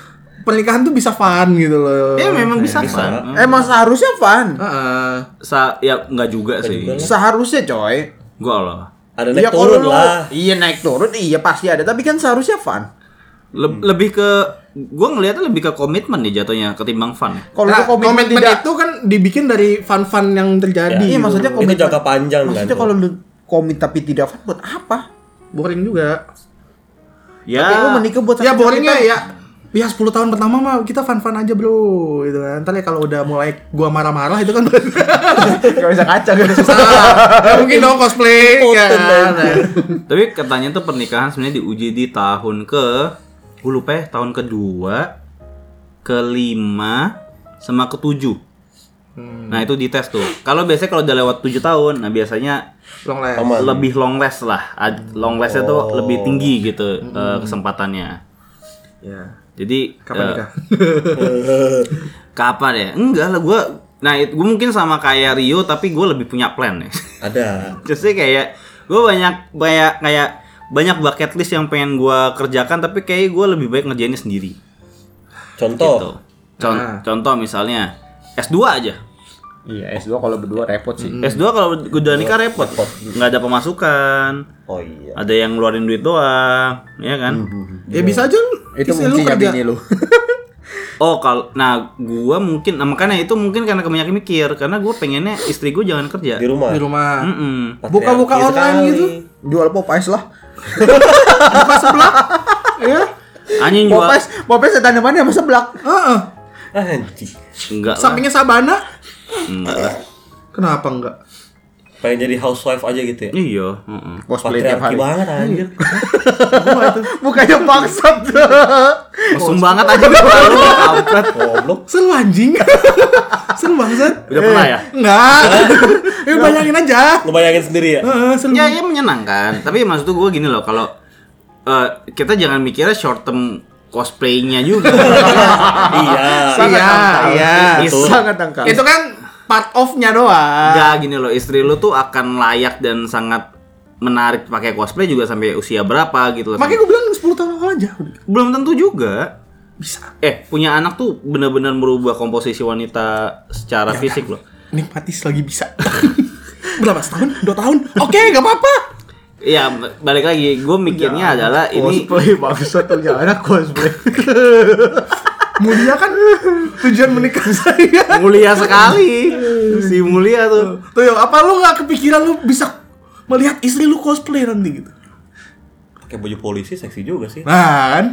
Speaker 2: pernikahan tuh bisa fun gitu loh.
Speaker 1: Ya memang bisa,
Speaker 4: bisa.
Speaker 1: Fan.
Speaker 3: Emang seharusnya fun.
Speaker 2: Heeh.
Speaker 1: Sa ya nggak juga sih.
Speaker 4: juga.
Speaker 3: Seharusnya coy.
Speaker 1: Gua Allah.
Speaker 4: Ada naik
Speaker 3: Ya, kalau
Speaker 4: turun
Speaker 3: lu-
Speaker 4: lah.
Speaker 3: Iya naik turun, iya pasti ada. Tapi kan seharusnya fun.
Speaker 1: Le- lebih ke gua ngelihatnya lebih ke komitmen nih jatuhnya ketimbang fun.
Speaker 3: Kalau
Speaker 2: Nah,
Speaker 3: lu komitmen,
Speaker 2: komitmen
Speaker 3: tidak,
Speaker 2: itu kan dibikin dari fun-fun yang terjadi.
Speaker 3: iya
Speaker 2: gitu.
Speaker 3: maksudnya
Speaker 4: Itu
Speaker 3: komitmen
Speaker 4: jangka panjang kan,
Speaker 3: Maksudnya
Speaker 4: tuh.
Speaker 3: kalau lu komit tapi tidak fun buat apa?
Speaker 2: boring juga.
Speaker 1: Ya.
Speaker 3: Tapi lu menikah buat
Speaker 2: ya
Speaker 3: satu
Speaker 2: boringnya
Speaker 3: cerita.
Speaker 2: ya ya 10 tahun pertama mah kita fun-fun aja bro gitu kan ntar ya kalau udah mulai gua marah-marah itu kan
Speaker 3: Gak bisa kaca gitu susah.
Speaker 2: Ya, mungkin dong cosplay kan
Speaker 1: Tapi katanya tuh pernikahan sebenarnya diuji di tahun ke gue lupa ya, tahun kedua, kelima, sama ketujuh.
Speaker 2: Hmm.
Speaker 1: Nah itu dites tuh. Kalau biasanya kalau udah lewat tujuh tahun, nah biasanya
Speaker 2: long last
Speaker 4: Aman.
Speaker 1: lebih long last lah. Ad- Long lastnya tuh lebih tinggi gitu eh, kesempatannya.
Speaker 2: ya
Speaker 1: Jadi
Speaker 2: Hmm.
Speaker 1: eh,
Speaker 2: kapan nikah
Speaker 1: Kapan ya? Enggak lah gue. Nah gue mungkin sama kayak Rio tapi gue lebih punya plan ya.
Speaker 4: Ada.
Speaker 1: Justru kayak gue banyak banyak kayak banyak bucket list yang pengen gua kerjakan tapi kayak gue lebih baik ngerjainnya sendiri. Gitu.
Speaker 4: Contoh.
Speaker 1: Con-
Speaker 2: Ah.
Speaker 1: Contoh misalnya S2 aja.
Speaker 3: Iya S2 kalau berdua repot sih.
Speaker 1: S2 kalau udah nikah kan repot, nggak ada pemasukan,
Speaker 4: Oh iya.
Speaker 1: ada yang ngeluarin duit doang, ya kan?
Speaker 2: ya bisa aja lu
Speaker 3: Itu
Speaker 2: istri lu
Speaker 3: mungkin ya
Speaker 2: kerja.
Speaker 3: bini lu.
Speaker 1: Oh kalau, nah gua mungkin, nah, makanya itu mungkin karena kebanyakan mikir, karena gue pengennya istri gue jangan kerja.
Speaker 4: Di rumah.
Speaker 2: di rumah
Speaker 1: Mm-mm.
Speaker 4: Patriarki
Speaker 2: Buka-buka online
Speaker 4: sekali.
Speaker 2: gitu.
Speaker 3: Hmm. Iya Jual Popeyes lah.
Speaker 2: ya
Speaker 1: Anjing jual,
Speaker 3: Popeyes, Popeyes setan depannya sama seblak.
Speaker 2: Heeh.
Speaker 4: Anjing.
Speaker 1: enggak lah,
Speaker 2: sampingnya sabana
Speaker 1: enggak lah.
Speaker 2: kenapa enggak
Speaker 4: Pengen jadi housewife aja gitu ya.
Speaker 1: Iya. mm-mm.
Speaker 3: Cosplay tiap
Speaker 4: Patriarki
Speaker 3: hari.
Speaker 4: banget anjir.
Speaker 3: Mukanya bangsat.
Speaker 1: Mesum banget aja gua. Kampret.
Speaker 4: Goblok.
Speaker 2: seru anjing seru banget
Speaker 1: Udah pernah ya?
Speaker 2: enggak ya bayangin aja
Speaker 4: Ngebayangin sendiri ya.
Speaker 2: Heeh, seru
Speaker 1: Ya, ya menyenangkan. Tapi maksud gue gini loh, kalau eh, kita jangan mikirnya short term cosplaynya juga.
Speaker 4: iya.
Speaker 2: Iya,
Speaker 3: Sangat tangkal.
Speaker 2: iya.
Speaker 3: Itu sangat tangkal.
Speaker 2: itu kan part of-nya doang
Speaker 1: Enggak gini loh, istri lu tuh akan layak dan sangat menarik pakai cosplay juga sampai usia berapa gitu loh.
Speaker 2: makanya gue bilang 10 tahun awal aja udah.
Speaker 1: Belum tentu juga.
Speaker 2: bisa
Speaker 1: Eh, punya anak tuh benar-benar merubah komposisi wanita secara
Speaker 3: Ya,
Speaker 1: fisik
Speaker 3: kan?
Speaker 1: loh.
Speaker 2: nikmati selagi bisa. Berapa setahun? Dua tahun? Oke, nggak apa-apa.
Speaker 1: Ya, balik lagi, gue mikirnya adalah ini
Speaker 3: Iya. Cosplay bangsat punya anak cosplay.
Speaker 2: Mulia kan tujuan menikah saya.
Speaker 1: mulia sekali. Si mulia tuh.
Speaker 2: Tuh yo, apa lu nggak kepikiran lu bisa melihat istri lu cosplay nanti gitu?
Speaker 4: Pakai baju polisi seksi juga sih.
Speaker 2: Nah, kan?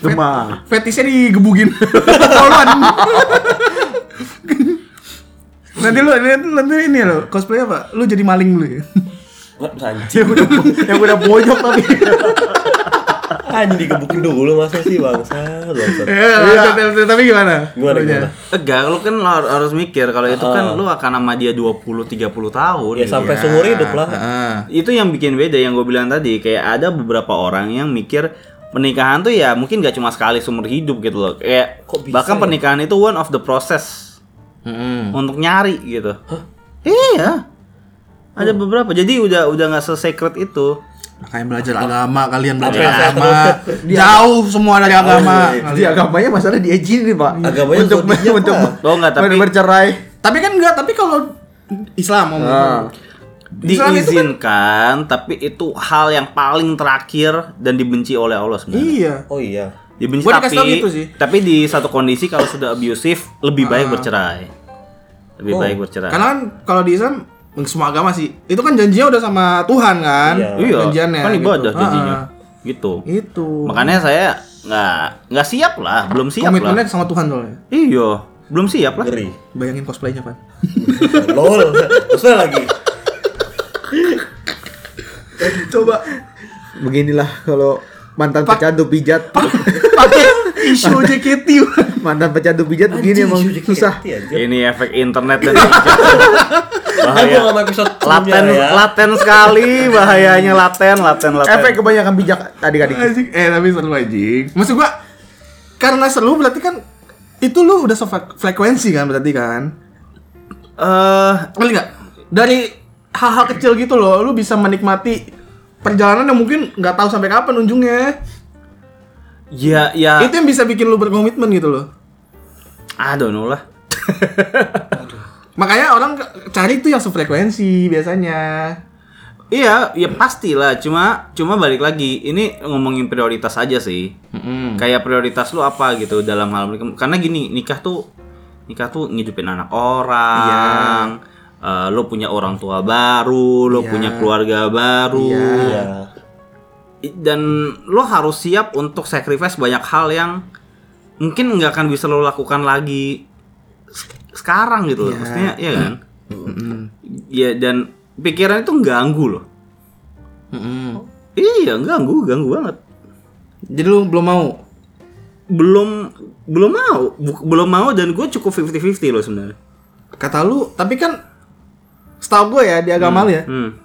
Speaker 3: Demang.
Speaker 2: fetisnya digebugin. Poluan. nanti lu nanti, nanti ini lo cosplay apa? Lu jadi maling lu ya.
Speaker 4: Nggak bisa anjing.
Speaker 3: Yang udah bonyok tapi.
Speaker 4: Anjing digebukin dulu masa sih bangsa. Bangsa.
Speaker 2: Iya, tapi- tapi gimana?
Speaker 4: Gimana gimana?
Speaker 1: Enggak, lu kan lo har- harus mikir kalau itu kan lu akan sama dia 20 30 tahun.
Speaker 4: Ya
Speaker 1: gitu.
Speaker 4: sampai seumur hidup lah.
Speaker 2: Iya. Heeh.
Speaker 1: Itu yang bikin beda yang gue bilang tadi, kayak ada beberapa orang yang mikir pernikahan tuh ya mungkin gak cuma sekali seumur hidup gitu loh. Kayak
Speaker 4: Kok bisa
Speaker 1: bahkan
Speaker 4: ya?
Speaker 1: pernikahan itu one of the process untuk nyari gitu. Iya. Ada beberapa. Jadi udah udah nggak se-secret itu.
Speaker 2: Makanya belajar agama, kalian belajar
Speaker 4: Apa yang
Speaker 2: agama. Jauh semua dari agama.
Speaker 3: Di agamanya masalah dia jin pak.
Speaker 4: Agamanya
Speaker 3: untuk
Speaker 4: zodiak,
Speaker 3: untuk
Speaker 4: Pak.
Speaker 1: Lo nggak tapi
Speaker 3: men- bercerai.
Speaker 2: Tapi kan enggak, tapi kalau Islam mau
Speaker 3: Ah.
Speaker 2: Islam itu kan-
Speaker 1: diizinkan, tapi itu hal yang paling terakhir dan dibenci oleh Allah sebenarnya.
Speaker 2: Iya.
Speaker 4: Oh iya.
Speaker 1: dibenci
Speaker 2: Gua
Speaker 1: tapi
Speaker 2: dikasih tau gitu sih.
Speaker 1: tapi di satu kondisi kalau sudah abusive lebih baik bercerai lebih
Speaker 4: Oh,
Speaker 1: baik bercerai
Speaker 2: Karena kan kalau di Islam semua agama sih. Itu kan janjinya udah sama Tuhan kan?
Speaker 4: Iya.
Speaker 1: iya
Speaker 2: Janjiannya.
Speaker 1: kan ibadah
Speaker 2: gitu.
Speaker 1: jadinya
Speaker 2: Ah, ah.
Speaker 1: gitu
Speaker 2: Itu.
Speaker 1: makanya saya nggak nggak siap lah belum siap
Speaker 2: komitmennya
Speaker 1: lah
Speaker 2: sama Tuhan soalnya.
Speaker 1: iya belum siap lah
Speaker 4: Ngeri.
Speaker 2: Bayangin cosplaynya kan.
Speaker 4: Lol. Terus lagi.
Speaker 2: Coba
Speaker 3: Beginilah kalau mantan pecandu pijat.
Speaker 2: pakai isu JKT. Wan.
Speaker 3: mantan pecandu pijat begini emang susah.
Speaker 1: ini efek internet dan
Speaker 4: Bahaya.
Speaker 1: bahaya
Speaker 4: sama episode
Speaker 1: laten
Speaker 4: sebelumnya ya.
Speaker 1: laten sekali bahayanya laten laten
Speaker 2: Eh,
Speaker 1: laten
Speaker 3: Efek kebanyakan pijak adik-adik.
Speaker 2: Anjing. Eh tapi seru anjing. Maksud gua karena seru berarti kan itu lu udah sefrekuensi kan berarti kan?
Speaker 1: Eh,
Speaker 2: Ngerti nggak? Dari hal-hal kecil gitu loh, lu bisa menikmati perjalanan yang mungkin nggak tahu sampai kapan ujungnya.
Speaker 1: Ya, ya.
Speaker 2: Itu yang bisa bikin lu berkomitmen gitu loh.
Speaker 1: I don't know lah.
Speaker 2: Makanya orang ke- cari tuh yang sefrekuensi biasanya.
Speaker 1: Iya, ya pastilah. Cuma, cuma balik lagi. Ini ngomongin prioritas aja sih. Kayak prioritas lu apa gitu dalam hal menikah. Karena gini, nikah tuh, nikah tuh ngidupin anak orang. Eh, lu punya orang tua baru, lu
Speaker 2: Iya.
Speaker 1: punya keluarga baru.
Speaker 2: Iya.
Speaker 4: Iya.
Speaker 1: I- dan lo harus siap untuk sacrifice banyak hal yang mungkin nggak akan bisa lo lakukan lagi se- sekarang gitu loh.
Speaker 2: Iya.
Speaker 1: Maksudnya ya kan? Ya dan pikiran itu ganggu loh. Iya, ganggu, ganggu banget.
Speaker 2: Jadi lu belum mau.
Speaker 1: Belum belum mau, bu- belum mau dan gue cukup 50-50 loh sebenarnya.
Speaker 2: Kata lu, tapi kan setahu gue ya di agama lu ya,
Speaker 1: Hmm.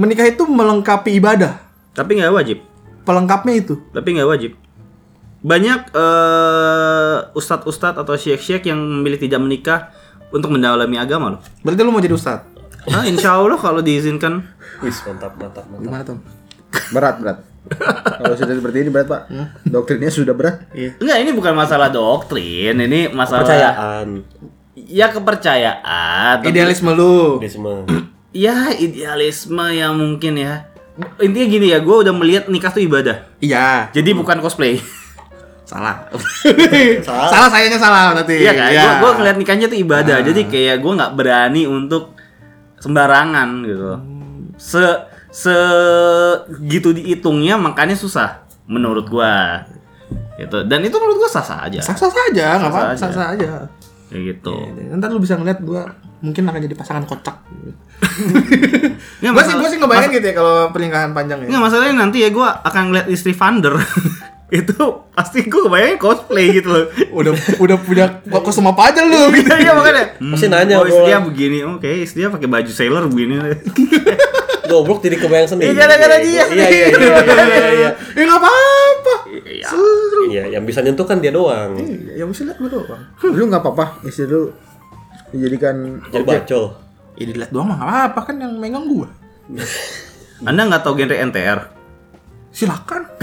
Speaker 2: menikah itu melengkapi ibadah.
Speaker 1: Tapi nggak wajib.
Speaker 2: Pelengkapnya itu.
Speaker 1: Tapi nggak wajib. Banyak eh ustadz-ustadz atau syekh-syekh yang memilih tidak menikah untuk mendalami agama loh.
Speaker 2: Berarti lu mau jadi ustad.
Speaker 1: Nah, insya Allah kalau diizinkan.
Speaker 4: Wis mantap mantap mantap.
Speaker 2: Gimana tuh?
Speaker 3: Berat, berat. Kalau sudah seperti ini berat, Pak. Doktrinnya sudah berat.
Speaker 2: Iya.
Speaker 1: Enggak, ini bukan masalah doktrin, ini masalah
Speaker 4: Percayaan,
Speaker 1: Ya kepercayaan. tapi-
Speaker 2: Idealisme lu.
Speaker 4: idealisme.
Speaker 1: Ya idealisme yang mungkin ya. Intinya gini ya, gue udah melihat nikah tuh ibadah.
Speaker 2: Iya.
Speaker 1: Jadi bukan cosplay.
Speaker 2: Salah. salah. salah sayanya salah berarti.
Speaker 1: Iya Hmm. kan? Gue Gue ngeliat nikahnya tuh ibadah. Jadi kayak gue nggak berani untuk sembarangan gitu. Se se gitu dihitungnya makanya susah menurut gua gitu dan itu menurut gua sah sah aja
Speaker 2: Sah-sah saja, nggak apa-apa.
Speaker 1: Sah-sah aja.
Speaker 2: Sah-sah aja.
Speaker 1: kayak gitu
Speaker 2: Ya, Ntar lu bisa ngeliat gue mungkin akan jadi pasangan kocak.
Speaker 1: Ya,
Speaker 2: gue sih
Speaker 1: masalah-
Speaker 2: gue sih ngebayangin gitu ya kalau pernikahan panjang ya.
Speaker 1: Nggak masalahnya nanti ya gue akan ngeliat istri Vander itu pasti gue bayangin cosplay gitu loh.
Speaker 2: Udah udah punya kok semua apa aja lu gitu.
Speaker 1: Iya iya, makanya.
Speaker 4: Pasti nanya,
Speaker 1: Oh istrinya
Speaker 4: Bro.
Speaker 1: begini, oke istrinya pakai baju sailor begini.
Speaker 4: Goblok jadi kebayang sendiri.
Speaker 1: Iya, gara-gara dia
Speaker 4: Iya iya iya, iya iya iya.
Speaker 2: Ya nggak apa-apa.
Speaker 1: Iya.
Speaker 2: Seru.
Speaker 4: Iya, yang bisa nyentuh kan dia doang.
Speaker 2: Iya, yang mesti liat gue doang.
Speaker 3: Lu nggak apa-apa, istri lu dijadikan
Speaker 4: Jadi bacol.
Speaker 2: Ya dilihat doang mah nggak apa-apa kan yang megang gue.
Speaker 1: Anda nggak tahu genre NTR?
Speaker 2: Silakan.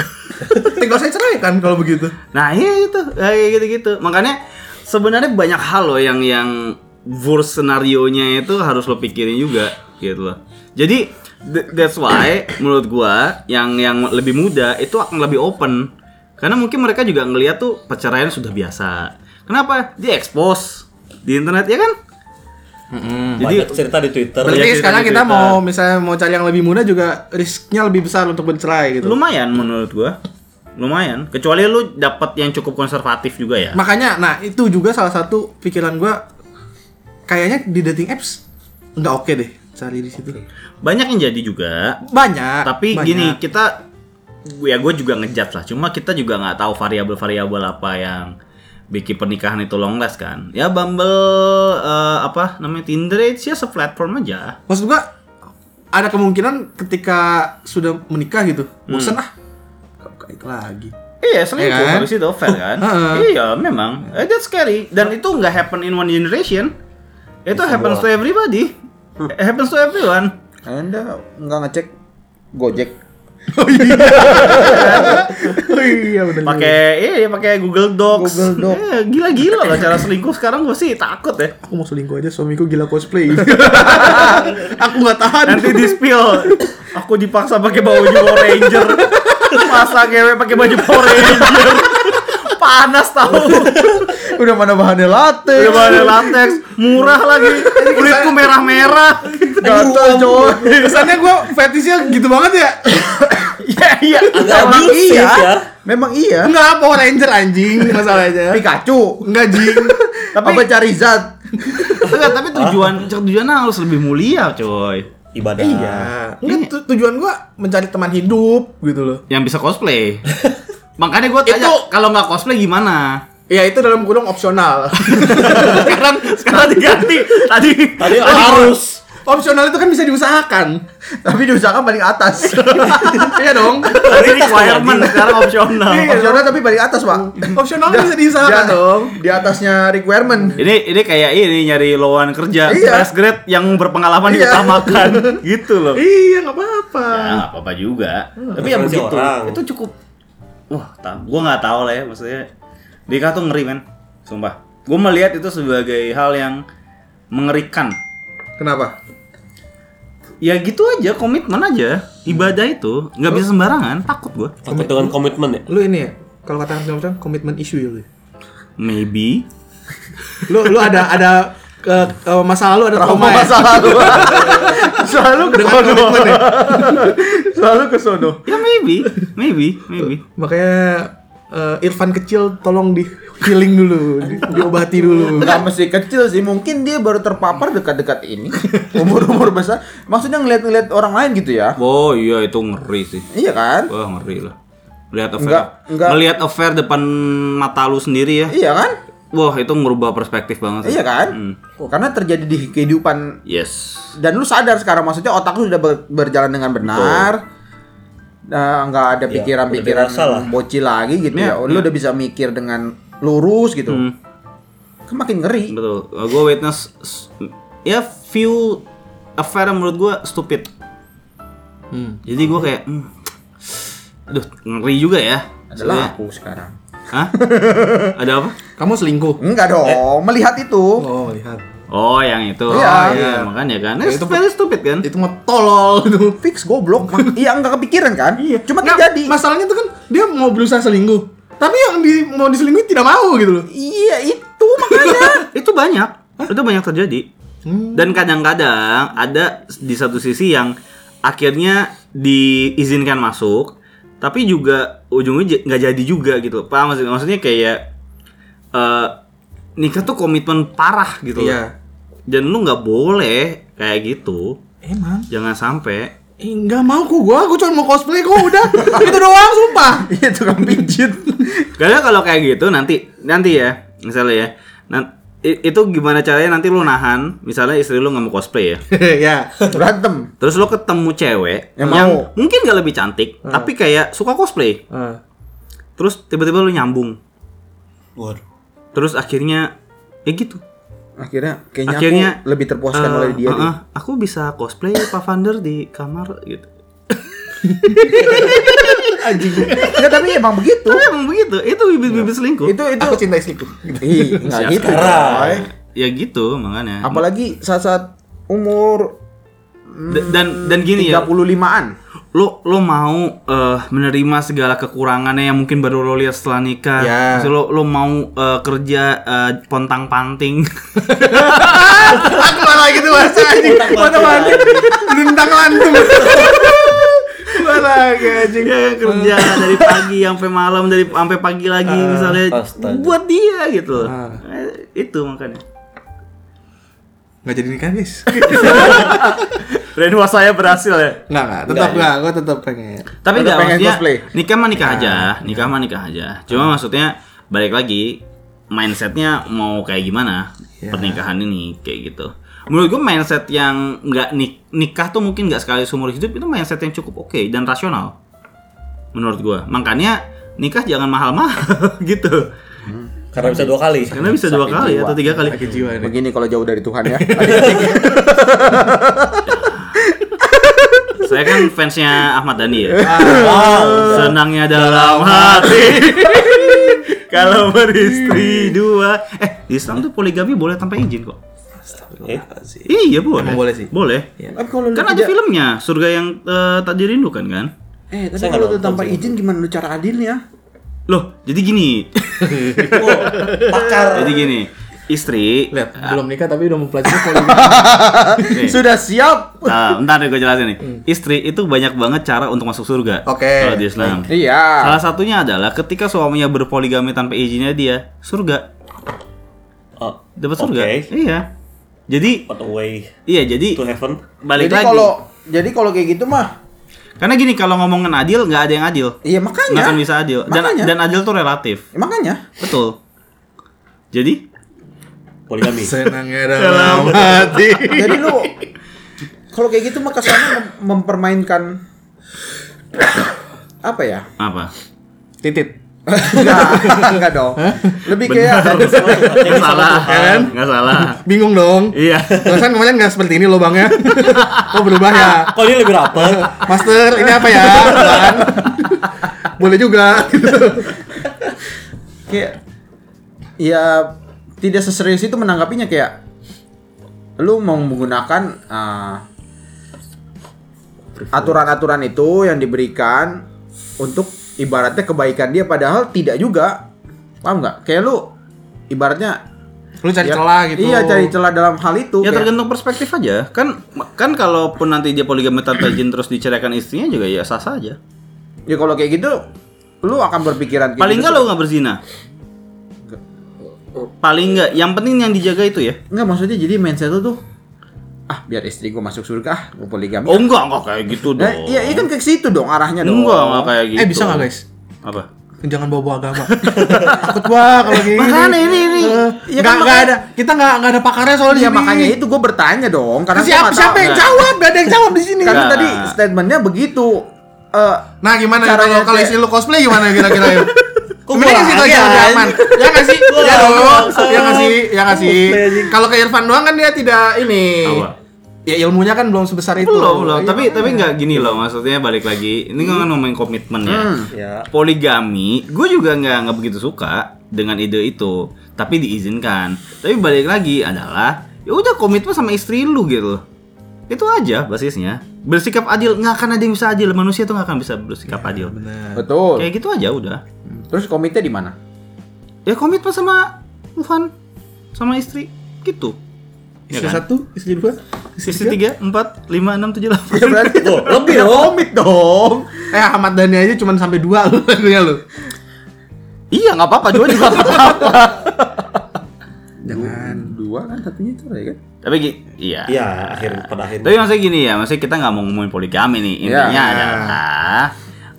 Speaker 2: Tinggal saya cerai kan kalau begitu.
Speaker 1: Nah iya itu kayak gitu gitu. Makanya sebenarnya banyak hal loh yang yang worst skenario nya itu harus lo pikirin juga gitu loh. Jadi th- that's why menurut gua yang yang lebih muda itu akan lebih open karena mungkin mereka juga ngeliat tuh perceraian sudah biasa. Kenapa? Di expose di internet ya kan? Jadi
Speaker 4: Banyak cerita di Twitter.
Speaker 1: Iya,
Speaker 2: Berarti
Speaker 1: cerita
Speaker 2: sekarang
Speaker 1: di
Speaker 2: kita
Speaker 1: Twitter.
Speaker 2: mau misalnya mau cari yang lebih muda juga risknya lebih besar untuk bercerai gitu.
Speaker 1: lumayan menurut gua. Lumayan. Kecuali lu dapat yang cukup konservatif juga ya.
Speaker 2: Makanya, nah itu juga salah satu pikiran gua kayaknya di dating apps nggak oke deh cari di situ.
Speaker 1: Banyak yang jadi juga.
Speaker 2: Banyak.
Speaker 1: tapi
Speaker 2: banyak.
Speaker 1: gini kita ya gue juga ngejat lah cuma kita juga nggak tahu variabel-variabel apa yang bikin pernikahan itu long last kan ya Bumble eh, apa namanya Tinder itu ya seplatform aja
Speaker 2: maksud gua ada kemungkinan ketika sudah menikah gitu,
Speaker 1: Hmm.
Speaker 2: bosan ah. Kok kayak gitu lagi.
Speaker 1: iya selingkuh
Speaker 2: Iya kan?
Speaker 1: habis itu fair kan
Speaker 2: Heeh.
Speaker 1: iya memang Eh, that's scary dan itu nggak happen in one generation itu happens to everybody It happens to everyone
Speaker 3: Anda nggak ngecek Gojek.
Speaker 2: oh iya benar.
Speaker 1: pakai iya pakai Google Docs
Speaker 3: Google Docs.
Speaker 1: Eh, gila-gila lah cara selingkuh sekarang gue sih takut ya
Speaker 2: Aku mau selingkuh aja suamiku gila cosplay. Aku nggak tahan.
Speaker 1: nanti di spill aku dipaksa pakai baju Power Ranger masa ngewe pakai baju Power Ranger panas tahu
Speaker 3: Udah mana bahannya latte.
Speaker 1: udah ada latex murah lagi kulitku merah-merah
Speaker 3: Gatel coy.
Speaker 2: Kesannya gua fetishnya gitu banget ya.
Speaker 1: iya iya
Speaker 4: Agak
Speaker 1: Emang
Speaker 4: abusif
Speaker 1: iya.
Speaker 4: ya.
Speaker 3: Memang iya.
Speaker 2: Enggak Power Ranger anjing masalahnya.
Speaker 3: Pikachu.
Speaker 2: Enggak jing.
Speaker 3: Tapi apa Charizard?
Speaker 1: Enggak, tapi tujuan tujuannya harus lebih mulia coy
Speaker 4: Ibadah.
Speaker 2: Iya. Enggak tu- tujuan gua mencari teman hidup gitu loh.
Speaker 1: yang bisa cosplay makanya gue tanya
Speaker 2: Itu-
Speaker 1: kalau nggak cosplay gimana
Speaker 2: Ya itu dalam kurung opsional.
Speaker 1: sekarang sekarang diganti tadi
Speaker 4: Tadi harus
Speaker 2: opsional itu kan bisa diusahakan.
Speaker 3: Tapi diusahakan paling atas.
Speaker 2: iya dong.
Speaker 1: tadi requirement sekarang opsional
Speaker 2: Iya,
Speaker 3: Opsional tapi paling atas, Pak.
Speaker 2: Opsional kan? bisa diusahakan
Speaker 3: Dia-
Speaker 2: dong.
Speaker 3: Di atasnya requirement.
Speaker 1: Ini ini kayak ini nyari lowongan kerja
Speaker 3: Iya.
Speaker 1: fresh grade yang berpengalaman
Speaker 3: Iya.
Speaker 1: diutamakan gitu loh.
Speaker 2: Iya nggak apa-apa.
Speaker 3: Hmm.
Speaker 1: Ya nggak apa-apa juga. Tapi yang
Speaker 4: Referensi
Speaker 1: begitu
Speaker 4: orang.
Speaker 1: itu cukup wah ta- gua nggak tahu lah ya maksudnya Dika tuh ngeri men sumpah gua melihat itu sebagai hal yang mengerikan
Speaker 2: Kenapa?
Speaker 1: ya gitu aja komitmen aja ibadah itu nggak bisa sembarangan takut gua
Speaker 4: Takut dengan komitmen ya.
Speaker 2: Lu ini ya, kalau kata Kang Jompang komitmen issue ya lu.
Speaker 1: maybe
Speaker 2: Lu lu ada ada eh, eh, masa lalu ada trauma, ya?
Speaker 3: masa lalu. Selalu ke
Speaker 2: Dengan
Speaker 3: sono.
Speaker 2: komitmen ya?
Speaker 3: Selalu ke sono.
Speaker 1: ya maybe maybe maybe
Speaker 2: Makanya eh, Irfan kecil tolong di healing dulu, di- diobati dulu.
Speaker 3: Enggak mesti kecil sih, mungkin dia baru terpapar dekat-dekat ini. Umur-umur besar. Maksudnya ngeliat-ngeliat orang lain gitu ya.
Speaker 1: oh iya itu ngeri sih
Speaker 3: Iya kan?
Speaker 1: wah ngeri lah melihat affair
Speaker 3: Nggak, nggak.
Speaker 1: melihat affair depan mata lu sendiri ya
Speaker 3: Iya kan?
Speaker 1: wah itu ngerubah perspektif banget sih.
Speaker 3: Iya kan?
Speaker 1: Hmm.
Speaker 3: Karena terjadi di kehidupan
Speaker 1: yes
Speaker 3: dan lu sadar sekarang maksudnya otak lu sudah ber- berjalan dengan benar. Nah, nggak ada
Speaker 4: udah
Speaker 3: pikiran-pikiran
Speaker 4: dirasa lah.
Speaker 3: bocil lagi gitu ya. Lu udah bisa mikir dengan lurus gitu. Kan makin ngeri.
Speaker 1: Betul. Gue witness s- ya few affair yang menurut gue stupid. Jadi gue kayak, hmm, aduh ngeri juga ya.
Speaker 3: Adalah aku sekarang.
Speaker 1: Hah? Ada apa?
Speaker 2: Kamu selingkuh.
Speaker 3: Enggak dong, melihat itu.
Speaker 2: Oh, lihat.
Speaker 1: Oh yang itu.
Speaker 3: Iya. Ya,
Speaker 1: Oh, Makanya kan. It's very stupid kan.
Speaker 2: Itu mah tolol itu.
Speaker 3: Fix goblok. Mak- iya enggak kepikiran kan? Iya. Cuma
Speaker 2: Nggak,
Speaker 3: terjadi.
Speaker 2: Masalahnya tuh kan dia mau berusaha selingkuh. Tapi yang di, mau diselingkuhi tidak mau gitu loh.
Speaker 3: Iya itu makanya.
Speaker 1: itu banyak. Itu banyak terjadi. Dan kadang-kadang ada di satu sisi yang akhirnya diizinkan masuk, tapi juga ujungnya j- nggak jadi juga gitu. Paham maksudnya? Maksudnya kayak eh nikah tuh komitmen parah gitu. loh.
Speaker 2: Iya.
Speaker 1: Dan lu nggak boleh kayak gitu.
Speaker 2: Emang?
Speaker 1: Jangan sampai.
Speaker 2: Eh, nggak mau kok gua, gua cuma mau cosplay kok udah. itu doang sumpah.
Speaker 3: Iya tukang pijit.
Speaker 1: Karena kalau kayak gitu nanti nanti ya misalnya ya. nan- i- itu gimana caranya nanti lu nahan misalnya istri lu nggak mau cosplay ya
Speaker 2: ya.
Speaker 3: Berantem.
Speaker 1: Terus lo ketemu cewek
Speaker 3: Yang
Speaker 1: yang,
Speaker 3: Ya mau. Hmm.
Speaker 1: mungkin gak lebih cantik, tapi kayak suka cosplay.
Speaker 2: Ah.
Speaker 1: Terus tiba-tiba lo nyambung.
Speaker 4: Waduh.
Speaker 1: Terus akhirnya ya gitu.
Speaker 3: Akhirnya kayaknya
Speaker 1: akhirnya
Speaker 3: aku lebih terpuaskan
Speaker 1: eh,
Speaker 3: oleh dia.
Speaker 1: eh,
Speaker 3: deh.
Speaker 1: eh, aku bisa cosplay Pavander di kamar gitu. eh.
Speaker 3: Enggak tapi emang begitu.
Speaker 1: Tapi emang begitu, itu bibit-bibit selingkuh.
Speaker 3: Iya. Itu itu
Speaker 2: Aku cinta istriku.
Speaker 3: Ih, enggak gitu. coy.
Speaker 4: Sekarang.
Speaker 1: Ya gitu makanya.
Speaker 3: Apalagi saat-saat umur
Speaker 1: D- dan dan gini ya,
Speaker 3: 35-an.
Speaker 1: lo lo mau eh, menerima segala kekurangannya yang mungkin baru lo lihat setelah nikah.
Speaker 3: Iya.
Speaker 2: Ya.
Speaker 1: Terus Lo lo mau eh, kerja eh, pontang-panting.
Speaker 2: Aku malah gitu bahasa anjing. Mana mana. Bentang lantung. Malah anjing.
Speaker 1: Ya, kerja dari pagi sampai malam dari sampai pagi lagi misalnya
Speaker 4: astaga.
Speaker 1: buat dia gitu loh.
Speaker 2: Ah.
Speaker 1: Eh, itu makanya.
Speaker 2: Enggak jadi nikah, guys.
Speaker 1: Renwa saya berhasil ya.
Speaker 2: Enggak, enggak. Tetap enggak, gua tetap pengen.
Speaker 1: Tapi
Speaker 3: Tetap
Speaker 1: enggak
Speaker 3: pengen
Speaker 1: maksudnya
Speaker 3: cosplay.
Speaker 1: nikah mah nikah aja, nikah mah nikah aja. Cuma maksudnya balik lagi mindsetnya mau kayak gimana pernikahan ini kayak gitu. Menurut gue mindset yang nggak nik- nikah tuh mungkin nggak sekali seumur hidup itu mindset yang cukup oke dan rasional. Menurut gue, makanya nikah jangan mahal-mahal gitu.
Speaker 4: Karena bisa dua kali.
Speaker 1: Karena bisa dua kali
Speaker 3: jiwa.
Speaker 1: atau tiga kali.
Speaker 2: Sakit jiwa nih.
Speaker 3: Begini kalau jauh dari Tuhan ya.
Speaker 1: Saya kan fansnya Ahmad Dhani ya.
Speaker 2: Ah,
Speaker 1: Senangnya dalam hati. Kalau beristri dua. Eh, di Islam tuh poligami boleh tanpa izin kok.
Speaker 4: Eh,
Speaker 1: Iya boleh.
Speaker 2: Emang boleh sih? Iya.
Speaker 1: Boleh.
Speaker 3: Tapi kalau lu
Speaker 1: Kan ada
Speaker 3: tidak-
Speaker 1: filmnya Surga yang eh, tak dirindukan kan.
Speaker 3: Eh, tapi
Speaker 4: Saya
Speaker 3: kalau
Speaker 4: nggak
Speaker 3: lu tanpa izin gimana lu cara ya? adilnya?
Speaker 1: Loh, jadi gini.
Speaker 4: Pakar.
Speaker 1: jadi gini. Istri.
Speaker 2: Oh, Lihat, belum nikah tapi udah mempelajari poligami.
Speaker 1: Nih.
Speaker 3: Sudah siap.
Speaker 1: Nah, eh, bentar gue jelasin nih. Istri itu banyak banget cara untuk masuk surga.
Speaker 2: Hmm. Oke.
Speaker 1: Kalau di Islam.
Speaker 3: Iya.
Speaker 1: Salah satunya adalah ketika suaminya berpoligami tanpa izinnya dia, surga.
Speaker 4: Oh,
Speaker 1: Dapat surga.
Speaker 4: Oke.
Speaker 1: Iya. Jadi
Speaker 4: What a way
Speaker 1: iya jadi
Speaker 4: to heaven.
Speaker 1: balik
Speaker 3: jadi
Speaker 1: lagi.
Speaker 3: kalau jadi kalau kayak gitu mah
Speaker 1: Karena gini kalau ngomongin adil nggak ada yang adil.
Speaker 3: iya
Speaker 1: Nggak
Speaker 3: makanya.
Speaker 1: akan bisa adil. Dan
Speaker 3: Makanya.
Speaker 1: dan adil tuh relatif.
Speaker 3: Ya, makanya.
Speaker 1: Betul. Jadi
Speaker 4: Poligami.
Speaker 2: Senangnya dalam hati.
Speaker 3: Jadi lu kalau kayak gitu mah kesannya mem- mempermainkan apa ya?
Speaker 1: apa?
Speaker 2: Titit.
Speaker 3: Enggak, enggak dong. Lebih kayak
Speaker 1: Nggak salah. Nggak salah.
Speaker 2: Bingung dong.
Speaker 1: Iya.
Speaker 2: Perasaan kemarin nggak seperti ini lubangnya. Oh berubah ya.
Speaker 4: Kok ini lebih rapat?
Speaker 2: Master, ini apa ya? Kan? boleh juga gitu.
Speaker 3: kayak ya tidak seserius itu menanggapinya kayak lu mau menggunakan eh, aturan-aturan itu yang diberikan untuk ibaratnya kebaikan dia padahal tidak juga paham nggak kayak lu ibaratnya
Speaker 2: Lu cari
Speaker 3: ya-
Speaker 2: celah gitu.
Speaker 3: iya cari celah dalam hal itu
Speaker 1: Ya
Speaker 3: kayak-
Speaker 1: tergantung perspektif aja. Kan kan kalaupun nanti dia poligami tanpa izin terus diceraikan istrinya juga ya sah saja.
Speaker 3: ya kalau kayak gitu lu akan berpikiran kayak
Speaker 1: Paling
Speaker 3: gitu.
Speaker 1: enggak lo nggak berzina. Paling enggak, yang penting yang dijaga itu ya.
Speaker 3: Enggak maksudnya jadi mindset lu tuh ah biar istri gua masuk surga ah gua
Speaker 2: Iya.
Speaker 3: poligami
Speaker 1: Oh enggak, enggak kayak gitu dong.
Speaker 3: Nah, iya, iya kan ke situ dong arahnya dong.
Speaker 1: Enggak, enggak kayak gitu.
Speaker 2: Eh bisa nggak guys?
Speaker 1: Apa?
Speaker 2: Jangan bawa-bawa agama. Takut gua kalau kayak gini.
Speaker 3: Makanya ini ini.
Speaker 2: Eh, nggak
Speaker 3: Ya
Speaker 2: nggak
Speaker 3: kan makanya-
Speaker 2: ada. Kita nggak nggak ada pakarnya soalnya.
Speaker 3: Iya makanya itu gue bertanya dong karena gua
Speaker 2: Siapa
Speaker 3: nggak
Speaker 2: siapa
Speaker 3: tahu. Nah,
Speaker 2: yang
Speaker 1: nggak.
Speaker 2: jawab? Gak ada yang jawab di sini.
Speaker 3: Karena
Speaker 1: Nah.
Speaker 3: tadi statementnya begitu. Eh,
Speaker 2: Nah gimana
Speaker 3: Cara
Speaker 2: caranya kalau
Speaker 3: ngecek.
Speaker 2: istri lu cosplay gimana kira-kira yuk?
Speaker 4: Kok
Speaker 2: Mending
Speaker 4: gua
Speaker 2: kasih tau
Speaker 4: lagi,
Speaker 2: aja lebih
Speaker 4: anjing?
Speaker 2: aman. Ya nggak sih?
Speaker 4: Gua
Speaker 2: Ya
Speaker 4: lagi,
Speaker 2: dong.
Speaker 4: bangsa.
Speaker 2: Ya nggak sih? Ya nggak sih?
Speaker 4: Cosplay, anjing.
Speaker 2: Kalau ke Irfan doang kan dia tidak ini.
Speaker 1: Apa?
Speaker 2: Ya ilmunya kan belum sebesar itu.
Speaker 1: Belum, belum.
Speaker 2: Iya. Hmm.
Speaker 1: Tapi tapi enggak gini loh maksudnya balik lagi. Ini kan ngomongin komitmen ya.
Speaker 4: Ya.
Speaker 1: Poligami, gue juga nggak nggak begitu suka dengan ide itu, tapi diizinkan. Tapi balik lagi adalah ya udah komitmen sama istri lu gitu. loh. Itu aja basisnya. Bersikap adil nggak akan ada yang bisa adil. Manusia tuh nggak akan bisa bersikap
Speaker 2: Iya,
Speaker 1: adil.
Speaker 3: betul.
Speaker 1: Kayak gitu aja udah.
Speaker 3: Terus komite di mana?
Speaker 1: Ya komitmen sama Tuhan, sama istri gitu. Ya kan?
Speaker 2: Istri
Speaker 1: Iya.
Speaker 2: satu, istri dua,
Speaker 1: Istri tiga, empat, lima, enam, tujuh, delapan.
Speaker 3: Ya berarti
Speaker 4: Oh, lebih
Speaker 3: Ya,
Speaker 4: dong.
Speaker 3: komit dong.
Speaker 2: Eh Ahmad Dhani aja cuma sampai dua lu lagunya lu.
Speaker 1: Iya nggak apa-apa, dua juga nggak apa-apa.
Speaker 3: Jangan dua kan satunya itu ya kan.
Speaker 1: Tapi gi- iya.
Speaker 4: Iya, akhir pada akhirnya.
Speaker 1: Tapi maksudnya gini ya, maksudnya kita nggak mau ngomongin poligami nih. Intinya
Speaker 3: Ya.
Speaker 1: adalah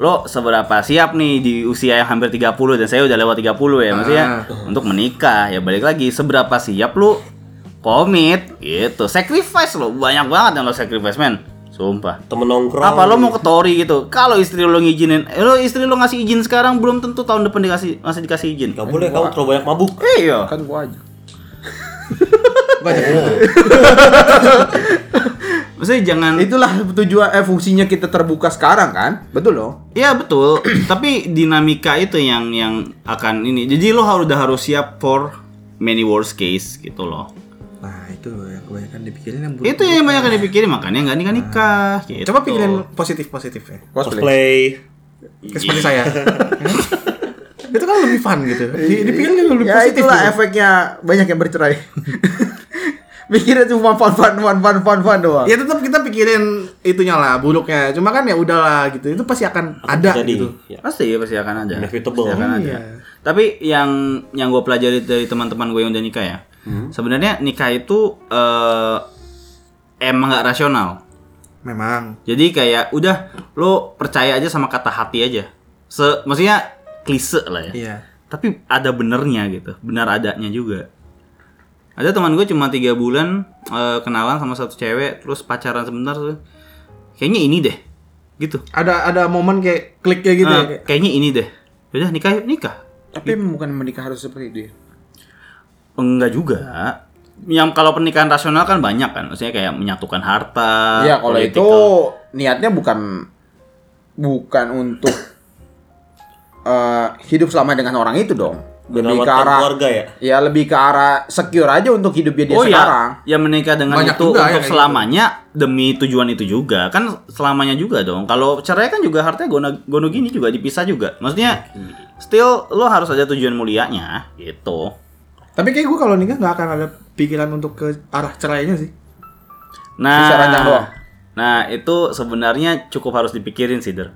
Speaker 1: lo seberapa siap nih di usia yang hampir 30 dan saya udah lewat 30 ya maksudnya untuk menikah ya balik lagi seberapa siap lo komit gitu sacrifice lo banyak banget yang lo sacrifice men sumpah
Speaker 4: Temen nongkrong.
Speaker 1: apa lo mau ke Tori gitu kalau istri lo ngizinin eh, lo istri lo ngasih izin sekarang belum tentu tahun depan dikasih masih dikasih izin
Speaker 4: Gak boleh kamu terlalu banyak mabuk.
Speaker 1: iya
Speaker 3: Kan gua aja.
Speaker 2: Gua ajak lu.
Speaker 1: maksudnya jangan
Speaker 3: Itulah tujuan eh fungsinya kita terbuka sekarang kan? Betul loh.
Speaker 1: Iya betul, tapi dinamika itu yang yang akan ini. Jadi lo harus udah harus siap for many worst case gitu loh.
Speaker 2: Nah itu yang kebanyakan dipikirin yang
Speaker 1: Itu yang banyak yang dipikirin makanya nggak nikah nikah. Gitu.
Speaker 2: Iya, Coba pikirin positif positifnya.
Speaker 3: Cosplay.
Speaker 4: Cosplay.
Speaker 2: Seperti saya. itu kan lebih fun gitu. Di- Dipikirin kan lebih
Speaker 3: Ya
Speaker 2: positif.
Speaker 3: itulah
Speaker 2: gitu.
Speaker 3: efeknya banyak yang bercerai. Mikirnya cuma fun fun fun fun fun fun doang.
Speaker 2: ya tetap kita pikirin itunya lah buruknya cuma kan ya udahlah gitu itu pasti akan ada
Speaker 4: Jadi.
Speaker 2: gitu
Speaker 4: Ya.
Speaker 1: Pasti pasti akan ada.
Speaker 4: Inevitable.
Speaker 1: Pasti akan ada.
Speaker 2: Iya.
Speaker 1: Tapi yang yang gue pelajari dari teman-teman gue yang udah nikah ya,
Speaker 2: Hmm.
Speaker 1: sebenarnya nikah itu eh, emang nggak rasional.
Speaker 2: memang
Speaker 1: Jadi kayak udah lo percaya aja sama kata hati aja. Se maksudnya klise lah ya.
Speaker 2: iya
Speaker 1: tapi ada benernya gitu benar adanya juga ada teman gue cuma tiga bulan eh, kenalan sama satu cewek terus pacaran sebentar tuh kayaknya ini deh gitu
Speaker 2: ada ada momen kayak klik kayak gitu
Speaker 1: Eh,
Speaker 2: ya kayak,
Speaker 1: kayaknya ini deh Ya udah nikah yuk, nikah
Speaker 3: Tapi bukan menikah harus seperti itu ya.
Speaker 1: enggak juga yang kalau pernikahan rasional kan banyak kan maksudnya kayak menyatukan
Speaker 4: Ah,
Speaker 1: harta
Speaker 3: Iya kalau itu
Speaker 1: political.
Speaker 3: niatnya bukan bukan untuk eh, hidup selama dengan orang itu dong. Lebih ke
Speaker 4: Merawat
Speaker 3: arah
Speaker 4: keluarga ya? iya.
Speaker 3: Ya lebih ke arah secure aja untuk hidupnya dia
Speaker 1: Oh ya,
Speaker 3: sekarang.
Speaker 1: ya menikah dengan
Speaker 2: Iya, Banyak
Speaker 1: itu
Speaker 2: juga ya
Speaker 1: untuk
Speaker 2: kayak
Speaker 1: selamanya demi tujuan itu juga kan selamanya juga dong. Kalau cerai kan juga hartanya gono gono gini juga dipisah juga. Maksudnya still lo harus ada tujuan mulianya gitu.
Speaker 2: tapi kayak gue kalau nikah nggak akan ada pikiran untuk ke arah cerainya sih
Speaker 1: Nah,
Speaker 3: Bisa rancang doang.
Speaker 1: nah itu sebenarnya cukup harus dipikirin sih der.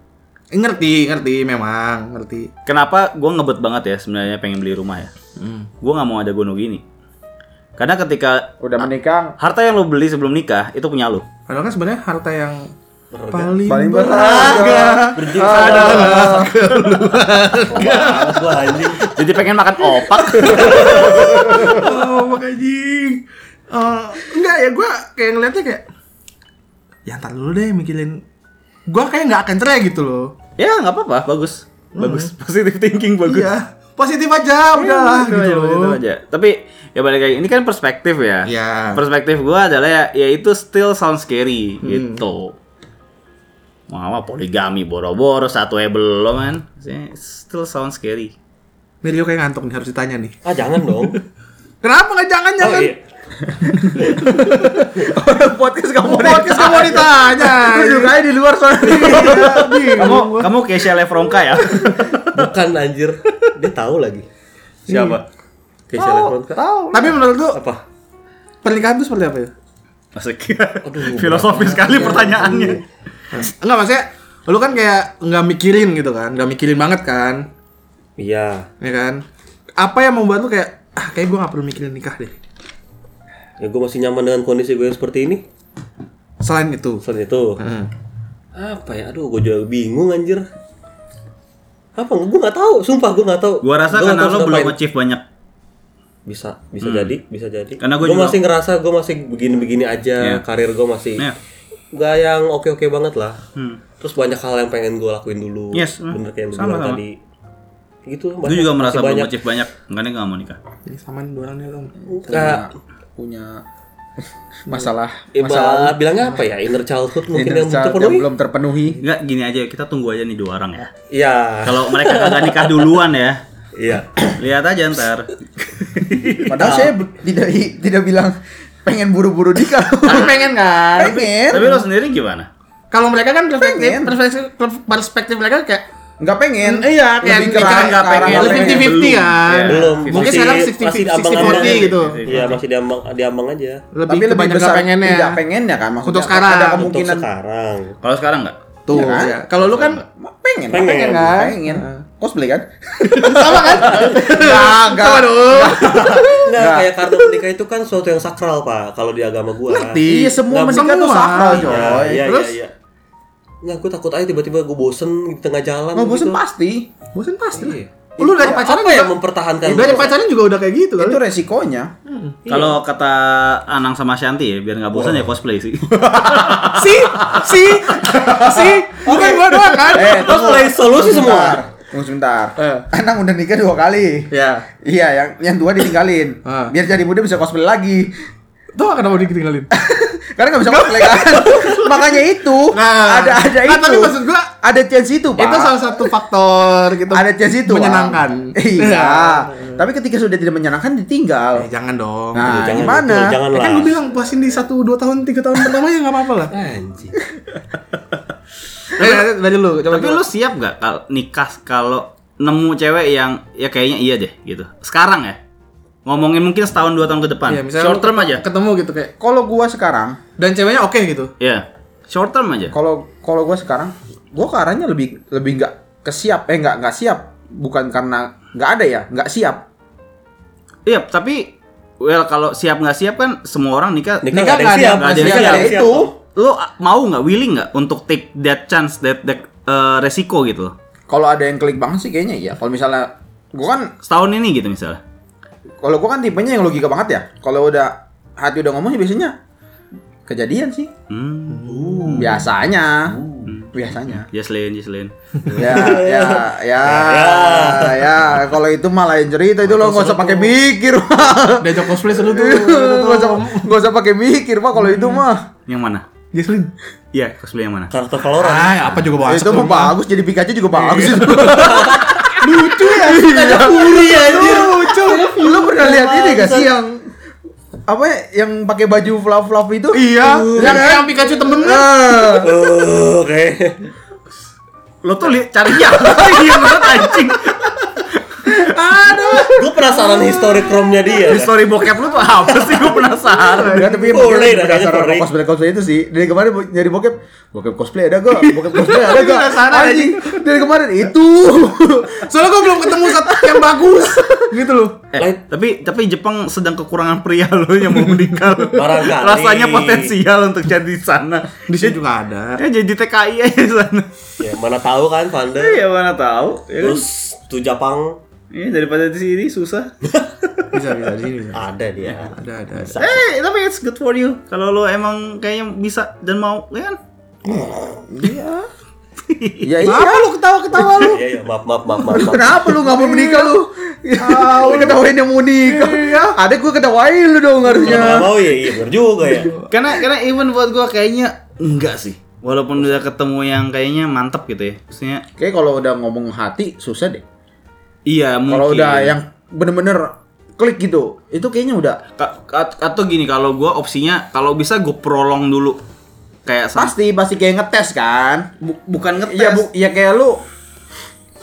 Speaker 2: Eh, ngerti ngerti memang ngerti
Speaker 1: Kenapa gue ngebet banget ya sebenarnya pengen beli rumah ya?
Speaker 2: Hmm.
Speaker 1: Gue nggak mau ada gono gini. Karena ketika
Speaker 3: Udah
Speaker 4: Ah.
Speaker 3: menikah
Speaker 1: harta yang lo beli sebelum nikah itu punya lo.
Speaker 2: padahal kan sebenarnya harta yang
Speaker 4: Berharga.
Speaker 2: paling,
Speaker 3: Paling
Speaker 2: berharga
Speaker 4: Berarti ada gua anjing.
Speaker 1: Jadi pengen makan opak.
Speaker 2: oh makanya Eh, enggak ya gue kayak ngeliatnya kayak ya ntar dulu deh mikirin gue kayak nggak akan cerai gitu loh
Speaker 1: Ya nggak apa-apa, bagus, bagus, positive thinking bagus. Iya,
Speaker 2: Iya, positif aja udah lah
Speaker 1: Itu
Speaker 2: gitu,
Speaker 1: aja,
Speaker 2: loh.
Speaker 1: itu aja. Tapi ya balik lagi, ini kan perspektif ya.
Speaker 2: Iya.
Speaker 1: Hmm. Perspektif gua adalah ya, ya itu still sound scary gitu. Wah, wah, poligami boro-boro satu ya belum kan. Still sound scary.
Speaker 2: Nih Rio kayak ngantuk nih harus ditanya nih.
Speaker 4: Ah jangan dong.
Speaker 2: Kenapa nggak jangan
Speaker 4: Oh
Speaker 2: jangan?
Speaker 4: iya.
Speaker 3: Orang podcast kamu
Speaker 2: Podcast kamu Iya. ditanya.
Speaker 3: Duduk aja di luar soalnya.
Speaker 1: Kamu kamu Kesha Lefronka ya?
Speaker 4: Bukan anjir. Dia tahu lagi.
Speaker 1: Siapa?
Speaker 4: Keisha Lefronka.
Speaker 2: Tapi menurut lu
Speaker 4: kan? Apa?
Speaker 2: pernikahan itu seperti apa ya?
Speaker 1: Asik. Filosofis sekali pertanyaannya.
Speaker 2: Enggak maksudnya lu kan kayak nggak mikirin gitu kan, nggak mikirin banget kan,
Speaker 4: Iya.
Speaker 2: ya kan? Apa yang membuat lu kayak ah kayak gue nggak perlu mikirin nikah deh.
Speaker 4: Ya gue masih nyaman dengan kondisi gue yang seperti ini.
Speaker 2: Selain itu,
Speaker 4: Selain itu,
Speaker 1: Hmm.
Speaker 4: apa ya? Aduh, gue juga bingung anjir. Apa? Gue nggak tahu. Sumpah gue nggak tahu.
Speaker 1: Gua rasa
Speaker 4: Gua nggak
Speaker 1: karena
Speaker 4: tahu
Speaker 1: lo
Speaker 4: harus
Speaker 1: belum
Speaker 4: ngapain.
Speaker 1: achieve banyak.
Speaker 4: Bisa, bisa jadi, bisa jadi.
Speaker 1: Hmm. Karena gua
Speaker 4: Gua
Speaker 1: juga-
Speaker 4: masih ngerasa gue masih begini-begini
Speaker 1: Iya.
Speaker 4: aja. Karir gue masih
Speaker 1: Iya. Hmm.
Speaker 4: nggak yang oke-oke banget lah. Terus banyak hal yang pengen gue lakuin dulu.
Speaker 1: Yes, hmm.
Speaker 4: Bener kayak yang lu
Speaker 1: Sama,
Speaker 4: bilang
Speaker 1: sama.
Speaker 4: tadi. Gitu.
Speaker 1: Gue juga merasa
Speaker 4: masih
Speaker 1: belum
Speaker 4: banyak.
Speaker 1: achieve banyak. Makanya gak mau nikah.
Speaker 2: ini samain dua orang nih Tom.
Speaker 3: Iya.
Speaker 4: Nggak,
Speaker 3: Punya masalah
Speaker 4: eh,
Speaker 3: masalah
Speaker 4: bah- bilangnya apa ya? Inner childhood mungkin
Speaker 3: inner
Speaker 4: yang
Speaker 3: child
Speaker 4: terpenuhi.
Speaker 3: yang belum terpenuhi.
Speaker 1: Enggak gini aja kita tunggu aja nih dua orang ya.
Speaker 4: Iya.
Speaker 1: Kalau mereka kagak nikah duluan ya,
Speaker 4: Iya.
Speaker 1: lihat aja ntar.
Speaker 2: Eh,
Speaker 3: Padahal saya b- tidak i- tidak bilang pengen buru-buru nikah. pengen kan? Pengen.
Speaker 1: Tapi lo sendiri gimana?
Speaker 2: Kalau mereka kan perspektif,
Speaker 3: Pengen.
Speaker 2: perspektif, perspektif mereka kayak
Speaker 3: Nggak pengen.
Speaker 2: Hmm, iya, kayak
Speaker 3: Lebih ke
Speaker 2: nikah
Speaker 3: arah-
Speaker 1: nggak
Speaker 3: ke arah ya?
Speaker 1: pengen.
Speaker 3: nggak
Speaker 1: Lebih
Speaker 3: pengen.
Speaker 2: 50-50 kan.
Speaker 1: Iya.
Speaker 4: Belum.
Speaker 2: Mungkin
Speaker 4: Masih-
Speaker 2: sekarang
Speaker 4: masih
Speaker 2: 60
Speaker 4: diambang-ambang.
Speaker 2: 60-40 gitu.
Speaker 4: Iya, masih diambang diambang aja.
Speaker 2: Lebih
Speaker 3: Tapi
Speaker 2: Tapi
Speaker 3: lebih
Speaker 2: kebanyakan
Speaker 3: besar
Speaker 2: nggak pengennya.
Speaker 3: tidak pengennya kan maksudnya.
Speaker 2: Untuk sekarang.
Speaker 3: Ada
Speaker 2: Untuk
Speaker 4: Untuk
Speaker 3: kemungkinan
Speaker 4: sekarang.
Speaker 1: Kalau sekarang nggak?
Speaker 2: Tuh,
Speaker 3: Iya kan?
Speaker 2: ya. kalau lu kan
Speaker 3: pengen,
Speaker 4: Pengen.
Speaker 3: pengen kan? Pengen. Cosplay kan? Sama kan? Enggak,
Speaker 2: Sama dong.
Speaker 4: Enggak, kayak kartu nikah itu kan sesuatu yang sakral, Pak, kalau di agama gua.
Speaker 3: Ngerti. Iya, semua
Speaker 4: Nggak,
Speaker 3: menikah tuh
Speaker 2: semua.
Speaker 3: sakral, coy.
Speaker 4: Iya, iya,
Speaker 3: Terus
Speaker 4: iya. Enggak, gua takut aja tiba-tiba gua bosen di tengah jalan.
Speaker 3: mau Oh, bosen
Speaker 4: gitu.
Speaker 3: pasti.
Speaker 2: bosan pasti lah.
Speaker 4: Iya.
Speaker 2: Lu dari
Speaker 4: Apa-
Speaker 2: pacaran
Speaker 4: apa
Speaker 2: juga,
Speaker 4: yang mempertahankan?
Speaker 2: dari
Speaker 4: lu?
Speaker 2: pacaran juga udah kayak gitu kan.
Speaker 3: Itu resikonya.
Speaker 2: Iya.
Speaker 1: Kalau kata Anang sama Shanti ya, biar nggak bosan ya cosplay sih.
Speaker 2: si si si bukan gua doang kan
Speaker 3: Eh,
Speaker 4: Terus play solusi
Speaker 3: Sebentar.
Speaker 4: semua.
Speaker 3: Tunggu sebentar.
Speaker 2: Eh.
Speaker 3: Anang udah nikah dua kali.
Speaker 2: ya
Speaker 3: Iya, yang yang tua ditinggalin.
Speaker 2: Ah.
Speaker 3: Biar jadi muda bisa cosplay lagi.
Speaker 2: tuh akan mau ditinggalin
Speaker 3: Karena nggak bisa cosplay kan. Makanya itu.
Speaker 2: Nah.
Speaker 3: ada ada
Speaker 2: Nah,
Speaker 3: itu.
Speaker 2: tapi maksud gua,
Speaker 3: ada chance itu, Pak.
Speaker 2: itu salah satu faktor gitu
Speaker 3: ada chance itu. Pak.
Speaker 2: menyenangkan
Speaker 3: Iya. tapi ketika sudah tidak menyenangkan ditinggal.
Speaker 2: Eh, jangan dong
Speaker 3: Nah,
Speaker 4: Jangan,
Speaker 3: gimana?
Speaker 4: betul, jangan
Speaker 2: Eh,
Speaker 4: lah.
Speaker 2: kan gue bilang puasin di satu dua tahun tiga tahun pertama ya nggak apa-apa lah
Speaker 4: Anjing.
Speaker 2: Eh, eh, dari lu coba
Speaker 1: Tapi lu siap nggak kalau nikah kalau nemu cewek yang ya kayaknya iya deh gitu. Sekarang ya. Ngomongin mungkin setahun dua tahun ke depan.
Speaker 2: Iya, misalnya
Speaker 1: Short
Speaker 2: lu
Speaker 1: term aja.
Speaker 2: ketemu gitu kayak
Speaker 3: Kalau gua sekarang,
Speaker 2: dan ceweknya oke gitu
Speaker 1: Iya. Short term aja.
Speaker 3: kalau kalau gua sekarang, gua ke arahnya lebih lebih nggak kesiap, eh nggak nggak siap. Bukan karena nggak ada ya, nggak siap.
Speaker 1: Iya, tapi well kalau siap nggak siap kan semua orang nikah.
Speaker 4: Nikah nggak ada yang siap,
Speaker 1: nggak ada yang
Speaker 4: nikah nggak
Speaker 1: siap.
Speaker 4: ada yang
Speaker 3: Ya Itu.
Speaker 4: siap.
Speaker 1: Lu a- mau nggak willing nggak untuk take that chance that, that eh, resiko gitu loh.
Speaker 3: Kalau ada yang klik banget sih kayaknya iya. Kalau misalnya gua kan
Speaker 1: Setahun ini gitu misalnya.
Speaker 3: kalau gua kan tipenya yang logika banget ya. Kalau udah hati udah ngomong sih biasanya kejadian sih.
Speaker 1: Hmm.
Speaker 3: Biasanya. Biasanya.
Speaker 1: Just lain, just lain.
Speaker 3: Ya, ya, ya, ya. Kalau itu mah lain cerita itu lo nggak usah pakai mikir, mah.
Speaker 2: diajak cosplay seru tuh
Speaker 3: Nggak usah, nggak usah pakai mikir, mah. Kalau itu mah,
Speaker 1: Yang mana?
Speaker 2: Jaslin
Speaker 1: Iya, cosplay yang mana?
Speaker 4: Karakter Valorant.
Speaker 2: ah apa juga bahasa
Speaker 3: itu mah bagus. Jadi Pikachu juga bagus. itu.
Speaker 2: lucu ya ada puri anjir lucu
Speaker 3: Lo pernah lihat ini gak sih yang apa ya, yang pakai baju fluff fluff itu?
Speaker 2: iya yang yang Pikachu kan? temennya
Speaker 3: Eh,
Speaker 4: Oh, Oke.
Speaker 1: Lo tuh lihat cari yang iya banget anjing.
Speaker 4: Gue penasaran history cromnya dia.
Speaker 1: History bokep lu tuh apa sih? Gue penasaran.
Speaker 3: Enggak, tapi yang
Speaker 4: Boleh,
Speaker 3: penting
Speaker 4: rasanya
Speaker 3: berdasarkan
Speaker 4: boleh.
Speaker 3: cosplay cosplay itu sih. Dari kemarin bo- nyari bokep, bokep cosplay ada gak? Bokep cosplay ada gak?
Speaker 2: Penasaran,
Speaker 3: Anjing, dari kemarin itu.
Speaker 2: soalnya gue belum ketemu satu yang bagus gitu loh
Speaker 1: Eh, tapi tapi Jepang sedang kekurangan pria lo yang mau menikah. lo.
Speaker 4: Barangkali.
Speaker 1: Rasanya potensial untuk jadi di sana.
Speaker 2: di sini juga ada
Speaker 1: Ya jadi TKI aja di sana.
Speaker 4: Ya, mana tahu kan Panda.
Speaker 1: Iya mana tahu. Ya, kan?
Speaker 4: Terus tuh Jepang
Speaker 1: Iya, daripada di sini susah.
Speaker 2: bisa bisa di sini bisa
Speaker 4: ada dia.
Speaker 2: ada ada ada.
Speaker 1: eh tapi it's good for you. Kalau lo emang kayaknya bisa dan mau, ya kan?
Speaker 3: Ya iya.
Speaker 2: Kenapa lu ketawa-ketawa lu?
Speaker 4: Iya, iya, maaf, maaf, maaf, maaf.
Speaker 3: Lu
Speaker 4: maaf.
Speaker 3: kenapa lu gak mau menikah lu? Lu ketawain yang mau nikah.
Speaker 1: Iya.
Speaker 3: Ada gue ketawain lu
Speaker 4: Kalau
Speaker 3: dong
Speaker 4: nggak
Speaker 3: harusnya.
Speaker 4: mau ya, iya bener juga ya.
Speaker 1: Karena karena even buat gua kayaknya enggak sih. Walaupun udah ketemu yang kayaknya mantep gitu ya. Maksudnya
Speaker 3: Kayak kalau udah ngomong hati susah deh.
Speaker 1: iya mungkin.
Speaker 3: Kalau udah ya yang bener-bener klik gitu, itu kayaknya udah
Speaker 1: Ka- at- atau gini kalau gua opsinya kalau bisa gue prolong dulu kayak sam-
Speaker 3: pasti pasti kayak ngetes kan.
Speaker 1: Bu- bukan ngetes.
Speaker 3: Iya bu, ya kayak lu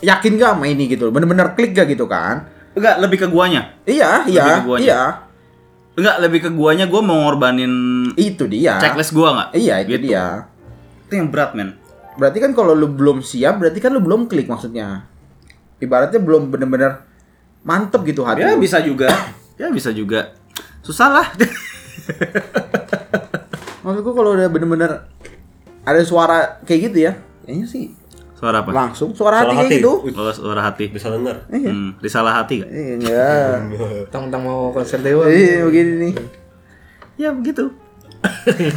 Speaker 3: yakin gak sama ini gitu, bener-bener klik gak gitu kan?
Speaker 1: Enggak, lebih ke guanya.
Speaker 3: Iya,
Speaker 1: Lebih ke
Speaker 3: iya,
Speaker 1: guanya.
Speaker 3: iya,
Speaker 1: Enggak, lebih ke guanya gua mau ngorbanin
Speaker 3: itu dia.
Speaker 1: checklist gua nggak?
Speaker 3: Iya itu
Speaker 1: Gitu.
Speaker 3: dia.
Speaker 1: Itu yang berat, men.
Speaker 3: Berarti kan kalau lu belum siap, berarti kan lu belum klik maksudnya. Ibaratnya belum bener-bener mantep gitu hati.
Speaker 1: Ya
Speaker 3: lu.
Speaker 1: bisa juga. ya bisa juga. Susah lah.
Speaker 3: Maksud gua kalau udah bener-bener ada suara kayak gitu ya, kayaknya sih
Speaker 1: Suara apa?
Speaker 3: langsung suara hati,
Speaker 4: Suara
Speaker 3: kayak
Speaker 4: hati.
Speaker 3: gitu.
Speaker 1: Oh, suara hati.
Speaker 4: Bisa denger.
Speaker 3: Iya.
Speaker 1: Hmm, risalah hati gak?
Speaker 3: Iya.
Speaker 2: Tentang mau konser Dewa.
Speaker 3: Iya begini nih.
Speaker 1: Ya begitu.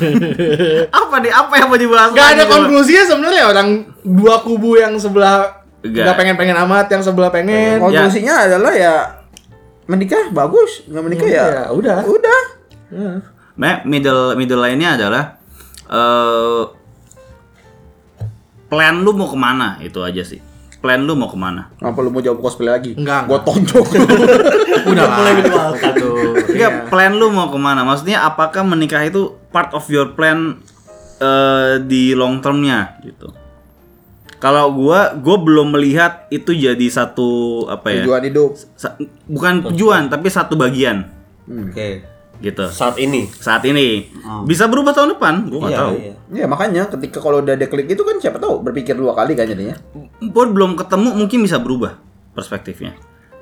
Speaker 1: apa nih? Apa yang mau dibahas?
Speaker 2: Gak
Speaker 1: lagi
Speaker 2: ada
Speaker 1: coba?
Speaker 2: konklusinya sebenarnya orang dua kubu yang sebelah
Speaker 1: Nggak.
Speaker 2: nggak pengen-pengen amat, yang sebelah pengen.
Speaker 3: Konklusinya adalah ya menikah bagus, nggak menikah ya,
Speaker 2: Ya, udah.
Speaker 3: Udah.
Speaker 2: Iya.
Speaker 1: Me- middle middle lainnya adalah eh plan lu mau kemana itu aja sih. Plan lu mau kemana?
Speaker 3: Apa lu mau jawab cosplay lagi?
Speaker 2: Enggak, Iya.
Speaker 3: Gua tonjok.
Speaker 2: Udah mulai menjualkan tuh. Iya.
Speaker 1: Enggak, plan lu mau kemana? Maksudnya apakah menikah itu part of your plan eh, di long termnya gitu? Kalau gua, gua belum melihat itu jadi satu apa ya?
Speaker 3: Tujuan hidup.
Speaker 1: Sa- bukan tujuan, tapi satu bagian
Speaker 4: Oke.
Speaker 1: gitu.
Speaker 4: Saat ini.
Speaker 1: Saat ini bisa berubah tahun depan, gua nggak tahu.
Speaker 3: Ya makanya ketika kalau udah deklik itu kan siapa tahu berpikir dua kali kan jadinya.
Speaker 1: pun belum ketemu mungkin bisa berubah perspektifnya.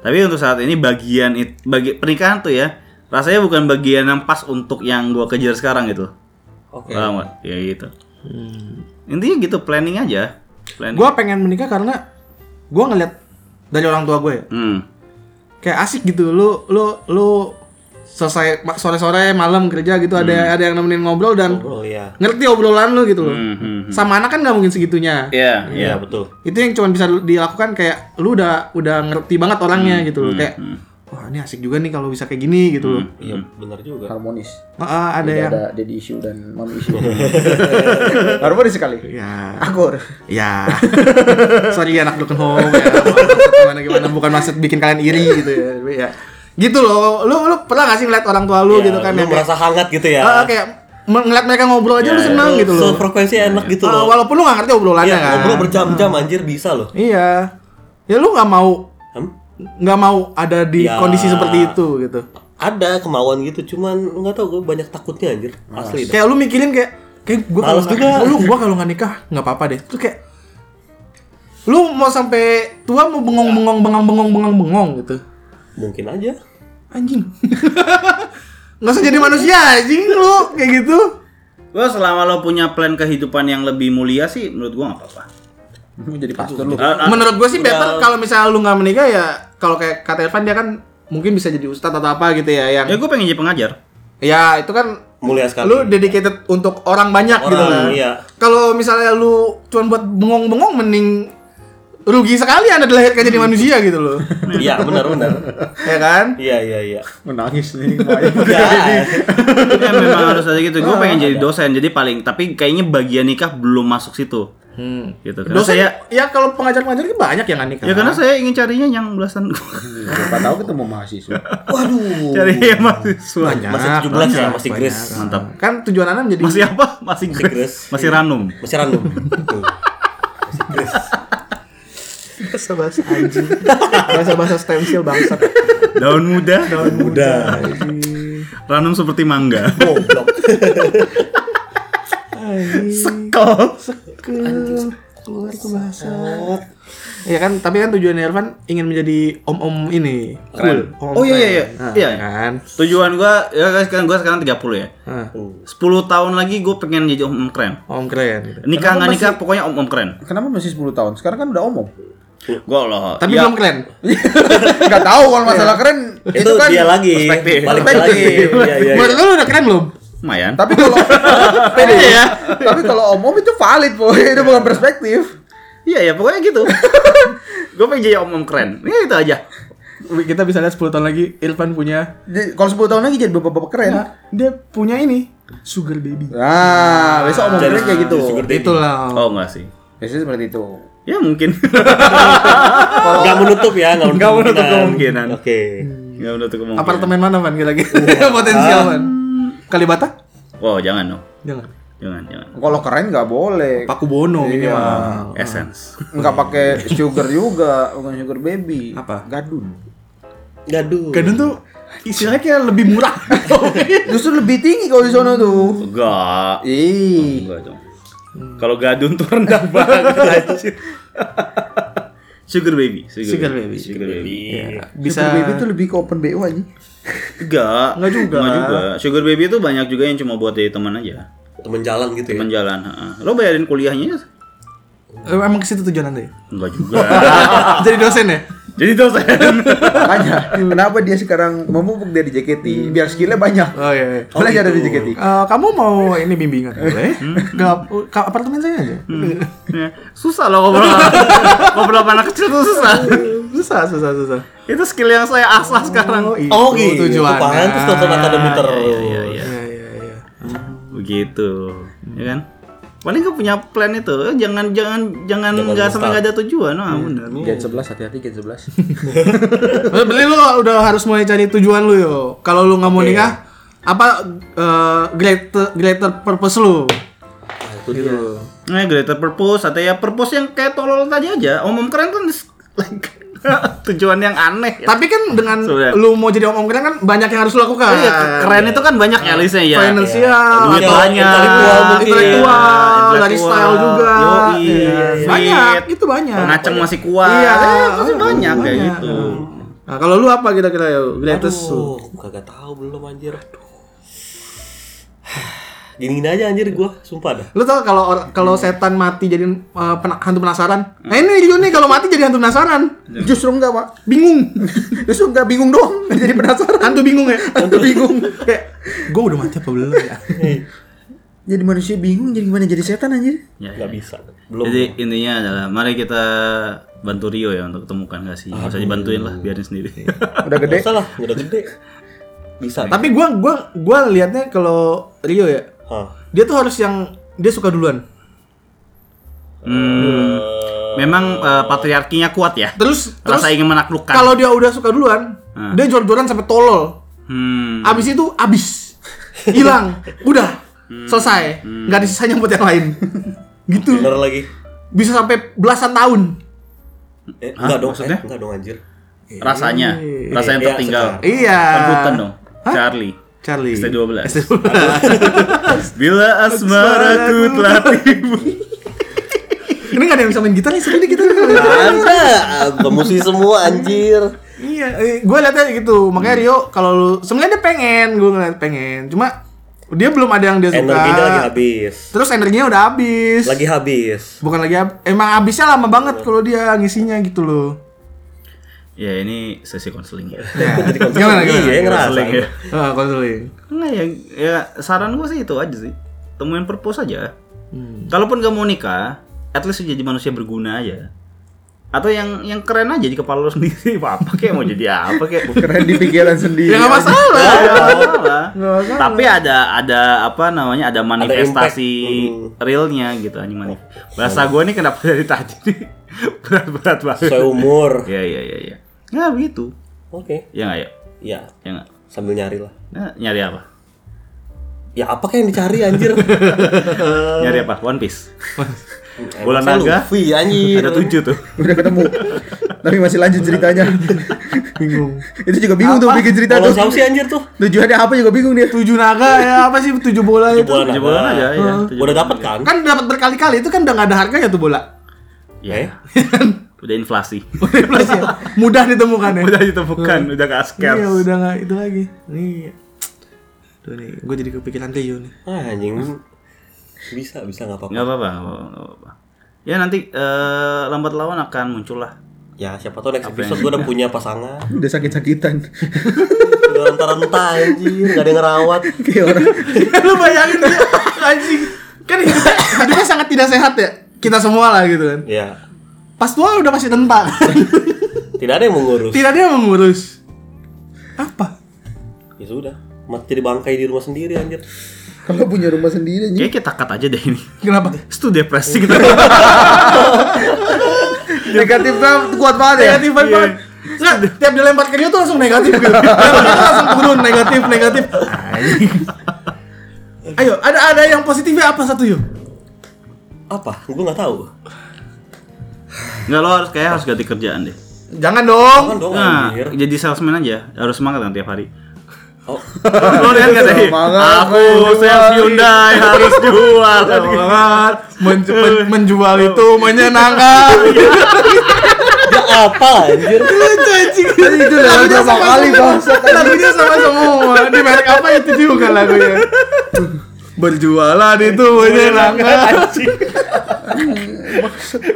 Speaker 1: Tapi untuk saat ini bagian it- bagi pernikahan tuh ya rasanya bukan bagian yang pas untuk yang gua kejar sekarang gitu.
Speaker 4: Oke.
Speaker 1: Paham nggak? Ya gitu. Intinya gitu planning aja. Planning.
Speaker 2: Gue pengen menikah karena gue ngeliat dari orang tua gue ya.
Speaker 1: Hmm.
Speaker 2: Kayak asik gitu. Lu lu lu selesai ma- sore-sore malam kerja gitu ada ada yang nemenin ngobrol dan
Speaker 4: Oh iya.
Speaker 2: ngerti obrolan lu gitu loh.
Speaker 1: Hmm, hmm.
Speaker 2: Sama anak kan nggak mungkin segitunya.
Speaker 1: Iya, iya.
Speaker 4: Iya, betul.
Speaker 2: itu yang cuma bisa dilakukan kayak lu udah udah ngerti banget orangnya
Speaker 4: Hmm,
Speaker 2: gitu loh kayak wah ini asik juga nih kalau bisa kayak gini gitu loh
Speaker 4: Iya, benar juga.
Speaker 3: Harmonis.
Speaker 2: Ah,
Speaker 4: Hmm.
Speaker 2: ah, ada
Speaker 3: Tidak
Speaker 2: yang
Speaker 3: Iya, ada daddy issue dan mommy issue. Harmonis sekali.
Speaker 2: ya
Speaker 3: Akur.
Speaker 2: ya sorry anak broken home ya gimana gimana bukan maksud bikin kalian iri
Speaker 4: Iya.
Speaker 2: gitu ya tapi ya gitu loh lu lu pernah gak sih ngeliat orang tua lu
Speaker 4: Iya,
Speaker 2: gitu kan
Speaker 4: lu
Speaker 2: yang kayak,
Speaker 4: merasa Iya, hangat gitu ya.
Speaker 2: ah, kayak me- ngeliat mereka ngobrol aja lu seneng gitu loh
Speaker 4: So, frekuensi enak gitu
Speaker 2: Ah,
Speaker 4: loh.
Speaker 2: walaupun lu gak ngerti obrolannya
Speaker 4: Iya,
Speaker 2: kan
Speaker 4: ngobrol berjam-jam anjir bisa loh.
Speaker 2: iya ya lu nggak mau
Speaker 4: Hmm?
Speaker 2: nggak mau ada di
Speaker 4: Ya.
Speaker 2: kondisi seperti itu gitu
Speaker 4: Ada kemauan gitu, cuman nggak tahu gue banyak takutnya anjir. Asli dah.
Speaker 2: kayak lu mikirin kayak kayak gue kalau
Speaker 4: Gitu. Males juga.
Speaker 2: nggak- lu gue kalau nggak nikah nggak apa-apa deh terus kayak lu mau sampai tua mau bengong bengong bengong bengong bengong bengong gitu
Speaker 4: Mungkin aja.
Speaker 2: anjing nggak usah jadi manusia anjing lu kayak gitu
Speaker 1: Gua selama lo punya plan kehidupan yang lebih mulia sih menurut gua nggak apa-apa.
Speaker 3: Mau jadi pastor lu.
Speaker 1: Ah, ah,
Speaker 2: menurut gue sih better kalau misalnya lu nggak menikah ya kalau kayak kata Irfan dia kan mungkin bisa jadi ustadz atau apa gitu ya yang
Speaker 1: Ya gua pengen jadi pengajar.
Speaker 2: ya itu kan
Speaker 4: Mulia sekali.
Speaker 2: lu dedicated untuk orang banyak
Speaker 4: Orang,
Speaker 2: gitu kan.
Speaker 4: iya.
Speaker 2: Kalau misalnya lu cuman buat bengong-bengong mending rugi sekali Anda dilahirkan jadi manusia gitu loh.
Speaker 4: Iya, benar benar.
Speaker 2: ya kan?
Speaker 4: Iya, iya, iya.
Speaker 3: Menangis nih. Maya.
Speaker 4: Enggak.
Speaker 1: ya memang harus ada gitu. Gua pengen jadi dosen. Jadi paling tapi kayaknya bagian nikah belum masuk situ. Gitu kan.
Speaker 2: Dosen
Speaker 1: Saya
Speaker 2: ya kalau pengajar-pengajar kan banyak yang nggak nikah.
Speaker 1: Ya karena saya ingin carinya yang belasan
Speaker 3: Siapa tahu ketemu mahasiswa.
Speaker 4: Waduh.
Speaker 1: Cari yang mahasiswa
Speaker 2: Oh. banyak.
Speaker 4: Masih 17 ya, masih Grace.
Speaker 1: Mantap
Speaker 2: Kan tujuan Anda menjadi
Speaker 1: Masih apa? Masih
Speaker 4: Grace.
Speaker 1: Grace Masih Ranum
Speaker 4: Masih random. Tuh.
Speaker 2: bahasa anjing. Bahasa-bahasa stensil bangsat.
Speaker 1: Daun muda Daun
Speaker 4: Udah.
Speaker 1: Ranum seperti mangga
Speaker 4: Goblok.
Speaker 2: Oh.
Speaker 1: Sekel
Speaker 2: Keluar tuh bahasa. Ya kan, tapi kan tujuan Irfan ingin menjadi om-om ini.
Speaker 1: Keren.
Speaker 2: Cool. Om-om
Speaker 1: Oh iya iya
Speaker 2: keren.
Speaker 1: iya
Speaker 2: Nah,
Speaker 1: Iya
Speaker 2: Kan.
Speaker 1: Tujuan gua Ya kan sekarang gua sekarang 30 ya
Speaker 2: Nah,
Speaker 1: 10 tahun lagi gua pengen jadi om-om keren
Speaker 2: om keren gitu.
Speaker 1: Nikah nggak nikah pokoknya om-om keren
Speaker 3: Kenapa masih 10 tahun? Sekarang kan udah omong.
Speaker 1: Gua loh
Speaker 2: Tapi
Speaker 1: ya, Iya.
Speaker 2: belum keren.
Speaker 3: Enggak tahu kalau masalah keren
Speaker 4: Itu
Speaker 3: kan.
Speaker 4: dia lagi.
Speaker 1: perspektif.
Speaker 4: Balik lagi. Iya, iya.
Speaker 2: Menurut lu udah keren belum? Iya.
Speaker 1: Lumayan
Speaker 3: Tapi kalau pede ya. Tapi kalau omong itu valid, boy. Itu bukan perspektif.
Speaker 1: Iya ya pokoknya gitu Gua pengen jadi om-om keren Ya itu aja
Speaker 2: kita bisa lihat 10 tahun lagi Irfan punya
Speaker 3: Di- Kalau 10 tahun lagi jadi bapak-bapak keren.
Speaker 2: Nah, dia punya ini sugar baby.
Speaker 3: Nah, besok omongannya kayak gitu.
Speaker 4: Sugar daddy.
Speaker 2: Itulah.
Speaker 1: Oh enggak sih.
Speaker 3: Biasanya seperti itu.
Speaker 1: Ya mungkin.
Speaker 4: Nggak menutup ya, nggak menutup,
Speaker 1: Nggak menutup kemungkinan.
Speaker 4: kemungkinan. Oke.
Speaker 1: Enggak menutup kemungkinan.
Speaker 2: Apartemen mana Van kita lagi? Potensial Van. Hmm. Kalibata?
Speaker 1: Wow, jangan dong.
Speaker 2: Jangan.
Speaker 1: Jangan, jangan.
Speaker 3: Kalau keren nggak boleh.
Speaker 2: Paku Bono
Speaker 1: Oh.
Speaker 2: minimal.
Speaker 1: Essence.
Speaker 3: Nggak pakai sugar juga, bukan sugar baby.
Speaker 2: Apa?
Speaker 3: Gadun.
Speaker 4: Gaduh.
Speaker 2: Gadun tuh istilahnya kayak lebih murah.
Speaker 3: Justru lebih tinggi kalau di sana tuh.
Speaker 1: Enggak. Oh,
Speaker 3: Ih,
Speaker 1: Enggak dong. Kalau gadun tuh rendah banget anjir. Sugar baby,
Speaker 2: Sugar baby.
Speaker 1: Sugar baby. Iya.
Speaker 2: Bisa
Speaker 3: sugar baby tuh lebih ke open BO aja.
Speaker 1: Enggak.
Speaker 2: Enggak juga.
Speaker 1: Enggak juga. Sugar baby itu banyak juga yang cuma buat dari teman aja.
Speaker 4: Temen jalan gitu ya.
Speaker 1: Teman jalan, heeh. Lo bayarin kuliahnya? ya?
Speaker 2: Eh, emang ke situ tujuan Anda ya?
Speaker 1: Enggak juga.
Speaker 2: Jadi dosen ya?
Speaker 1: Jadi dosen.
Speaker 3: Makanya, kenapa dia sekarang memupuk dari JKT? Biar skillnya banyak.
Speaker 2: Oh iya. iya.
Speaker 3: Boleh nggak dari JKT?
Speaker 2: Eh, kamu mau ini bimbingan? Boleh. Hmm. Ke, ke apartemen saya aja.
Speaker 1: Ya, susah loh ngobrol ngobrol sama anak kecil tuh susah
Speaker 2: susah, susah, susah. iya.
Speaker 1: itu skill yang saya asah sekarang
Speaker 4: Oh gitu.
Speaker 2: Tujuannya.
Speaker 4: Paham terus nonton akademi terus.
Speaker 2: Iya, iya, iya.
Speaker 1: begitu
Speaker 2: Hmm.
Speaker 1: ya kan paling nggak punya plan itu Eh, jangan jangan jangan nggak sampai nggak ada tujuan nah
Speaker 2: Hmm.
Speaker 1: bener
Speaker 3: Gen 11, hati-hati Gen 11.
Speaker 2: Maksudnya Berarti Eh, lu udah harus mulai cari tujuan lu yo. Kalau lu nggak mau nikah, apa eh, greater greater purpose lu? Gitu.
Speaker 1: nah greater purpose atau ya purpose yang kayak tolol tadi aja om om keren kan like, tujuan yang aneh
Speaker 2: Tapi kan dengan
Speaker 1: Sebenarnya.
Speaker 2: lu mau jadi om-om keren kan banyak yang harus lu lakukan.
Speaker 1: Iya, keren itu kan banyak ya listnya ya
Speaker 2: Finansial,
Speaker 1: duit
Speaker 2: atau
Speaker 1: banyak,
Speaker 4: intelektual mungkin.
Speaker 2: intelektual,
Speaker 1: Iya,
Speaker 2: ya. dari style juga.
Speaker 1: Yoi,
Speaker 2: Iya,
Speaker 1: fit.
Speaker 2: banyak, itu banyak.
Speaker 1: Ngaceng masih kuat.
Speaker 2: Iya,
Speaker 1: Eh, pasti
Speaker 2: oh,
Speaker 1: banyak kayak
Speaker 2: banyak.
Speaker 1: gitu.
Speaker 2: Nah, kalau lu apa kira-kira yo? Greatest lu.
Speaker 4: Aduh, kagak tahu belum anjir. Gini-gini aja anjir gua, sumpah dah.
Speaker 2: Lu tau kalau or- kalau setan mati jadi uh, pena- hantu penasaran? Nah ini juga nih kalau mati jadi hantu penasaran.
Speaker 3: Justru enggak, Pak.
Speaker 2: Bingung.
Speaker 3: Justru enggak bingung doang. Jadi penasaran.
Speaker 2: hantu bingung ya.
Speaker 3: Hantu bingung.
Speaker 2: Kayak gue udah mati apa belum ya?
Speaker 3: Jadi manusia bingung, jadi gimana jadi setan anjir?
Speaker 1: Ya, ya.
Speaker 4: Gak bisa. Belum. ya?
Speaker 1: Jadi intinya adalah mari kita bantu Rio ya untuk temukan gak sih? Gak usah dibantuin lah, biarin sendiri.
Speaker 4: Iya.
Speaker 3: Udah
Speaker 4: Gak
Speaker 3: gede.
Speaker 4: usah lah, udah gede. Bisa.
Speaker 2: Tapi gua gua gua liatnya kalau Rio ya,
Speaker 4: Hah.
Speaker 2: dia tuh harus yang dia suka duluan.
Speaker 1: Hmm, memang eh, patriarkinya kuat ya.
Speaker 2: Terus terus
Speaker 1: Rasa ingin menaklukkan.
Speaker 2: kalau dia udah suka duluan,
Speaker 1: Hmm.
Speaker 2: dia jor-joran sampai tolol.
Speaker 1: hmm,
Speaker 2: Abis itu abis. Hilang. udah.
Speaker 4: Hmm.
Speaker 2: Selesai. Nggak ada sisanya buat yang lain. gitu.
Speaker 4: Bener lagi.
Speaker 2: Bisa sampai belasan tahun.
Speaker 4: Eh, enggak dong,
Speaker 1: maksudnya?
Speaker 4: eh, enggak dong anjir.
Speaker 1: rasanya, rasa yang
Speaker 4: Iya,
Speaker 1: tertinggal.
Speaker 4: sekarang.
Speaker 2: Iya.
Speaker 1: Rambutan dong. Charlie.
Speaker 4: Iya.
Speaker 2: Charlie.
Speaker 1: ST12.
Speaker 2: ST12.
Speaker 1: Bila asmaraku telah tiba.
Speaker 2: Ini gak ada yang bisa main gitar nih, sebenernya kita
Speaker 4: Ada, pemusi semua anjir.
Speaker 2: Iya, eh, gue liatnya gitu. Makanya
Speaker 4: Hmm.
Speaker 2: Rio kalau lu sebenarnya dia pengen, gue ngeliat pengen. Cuma dia belum ada yang dia suka.
Speaker 4: Energinya lagi habis.
Speaker 2: Terus energinya udah habis.
Speaker 4: Lagi habis.
Speaker 2: Bukan lagi hab- emang habisnya lama banget kalau dia ngisinya gitu loh.
Speaker 1: Ya ini sesi konseling ya.
Speaker 2: Ya.
Speaker 4: Jadi konseling.
Speaker 2: gimana gimana?
Speaker 4: Iya, ngerasa.
Speaker 1: Konseling ya.
Speaker 2: Ah, konseling.
Speaker 1: Enggak ya, ya saran gue sih itu aja sih. Temuin purpose aja. Kalaupun gak mau nikah, at least jadi manusia berguna aja. Atau yang yang keren aja di kepala lo sendiri apa kayak mau jadi apa kayak
Speaker 3: Keren di pikiran sendiri.
Speaker 2: Ya nggak masalah.
Speaker 1: Nggak masalah. Tapi ada ada apa namanya ada manifestasi
Speaker 4: impact.
Speaker 1: realnya gitu anjing manif. Bahasa gue nih kenapa dari tadi nih berat-berat banget.
Speaker 4: Sesuai umur.
Speaker 1: Ya ya ya ya. Ya begitu.
Speaker 4: Oke.
Speaker 1: Ya nggak ya.
Speaker 4: Ya,
Speaker 1: Ya nggak.
Speaker 4: sambil nyari lah.
Speaker 1: Nah, nyari apa?
Speaker 4: Ya apa kayak yang dicari anjir?
Speaker 1: Nyari apa? One Piece.
Speaker 4: Emang
Speaker 1: Eh, Bola
Speaker 4: saya
Speaker 1: naga.
Speaker 4: Luffy anjir.
Speaker 1: Ada tujuh tuh.
Speaker 3: Udah ketemu. Tapi masih lanjut ceritanya.
Speaker 2: Bingung.
Speaker 3: itu juga
Speaker 2: Ah,
Speaker 3: bingung tuh bikin cerita
Speaker 4: Kalau
Speaker 3: tuh.
Speaker 4: siapa sih anjir tuh?
Speaker 3: Tujuannya apa juga bingung dia.
Speaker 2: ya. Tujuh naga ya apa sih tujuh bola itu?
Speaker 4: Bola
Speaker 1: Tujuh bulan aja ya. tujuh
Speaker 4: Udah
Speaker 1: bulan.
Speaker 4: dapat kan?
Speaker 2: Kan dapat berkali-kali itu kan udah nggak ada harganya tuh bola.
Speaker 1: Ya.
Speaker 4: Eh?
Speaker 1: Udah inflasi.
Speaker 2: Plus ya, Mudah ditemukan ya.
Speaker 1: udah ditemukan, udah gak asker.
Speaker 2: Iya udah nggak itu lagi. Nih. Tuh nih, gue jadi kepikiran Rio nih.
Speaker 4: Ah, anjing. Bisa, bisa nggak apa-apa.
Speaker 1: Gak apa-apa, gak apa-apa, gak apa-apa. Ya nanti eh, lambat laun akan muncul lah.
Speaker 4: Ya, siapa tahu next episode gue udah punya pasangan.
Speaker 3: Udah sakit-sakitan.
Speaker 4: Udah renta-renta anjir, nggak ada yang ngerawat.
Speaker 3: Kayak orang.
Speaker 2: lu bayangin dia anjing kan hidupnya, hidupnya sangat tidak sehat ya kita semua lah gitu kan
Speaker 4: Ya.
Speaker 2: pas tua udah pasti tentang
Speaker 4: tidak ada yang mengurus
Speaker 2: Tidak ada yang mengurus. Apa?
Speaker 4: ya sudah mati jadi bangkai di rumah sendiri anjir
Speaker 3: Kalau punya rumah sendiri anjing.
Speaker 1: Kayaknya kita cut aja deh ini.
Speaker 2: Kenapa?
Speaker 1: Itu depresi gitu.
Speaker 3: Negatifnya kuat banget ya.
Speaker 2: Negatif banget. Nggak, tiap dilempar ke dia tuh langsung negatif gitu. Dilempar ke dia langsung turun negatif, negatif. Anjing. Ayo, ada ada yang positifnya apa satu yuk?
Speaker 4: apa gue nggak tahu
Speaker 1: Enggak lo harus kayak harus ganti kerjaan deh.
Speaker 2: Jangan dong.
Speaker 4: kan dong
Speaker 1: Nah,
Speaker 4: anjir
Speaker 1: jadi salesman aja. Harus semangat kan tiap hari.
Speaker 4: oh
Speaker 1: Lo lihat nggak tadi?
Speaker 3: Semangat,
Speaker 1: Aku
Speaker 3: gue
Speaker 1: sales
Speaker 3: jual.
Speaker 1: Hyundai harus jual.
Speaker 2: Banget. Menju- men- menjual itu menyenangkan.
Speaker 4: ya apa anjir
Speaker 2: Lucu anjing.
Speaker 3: Tadi itu udah
Speaker 2: Lagunya
Speaker 3: berapa
Speaker 2: sama
Speaker 3: kali,
Speaker 2: semua.
Speaker 3: bangsat,
Speaker 2: Lagunya sama semua. Di merek apa itu juga lagunya. Berjualan itu menyenangkan.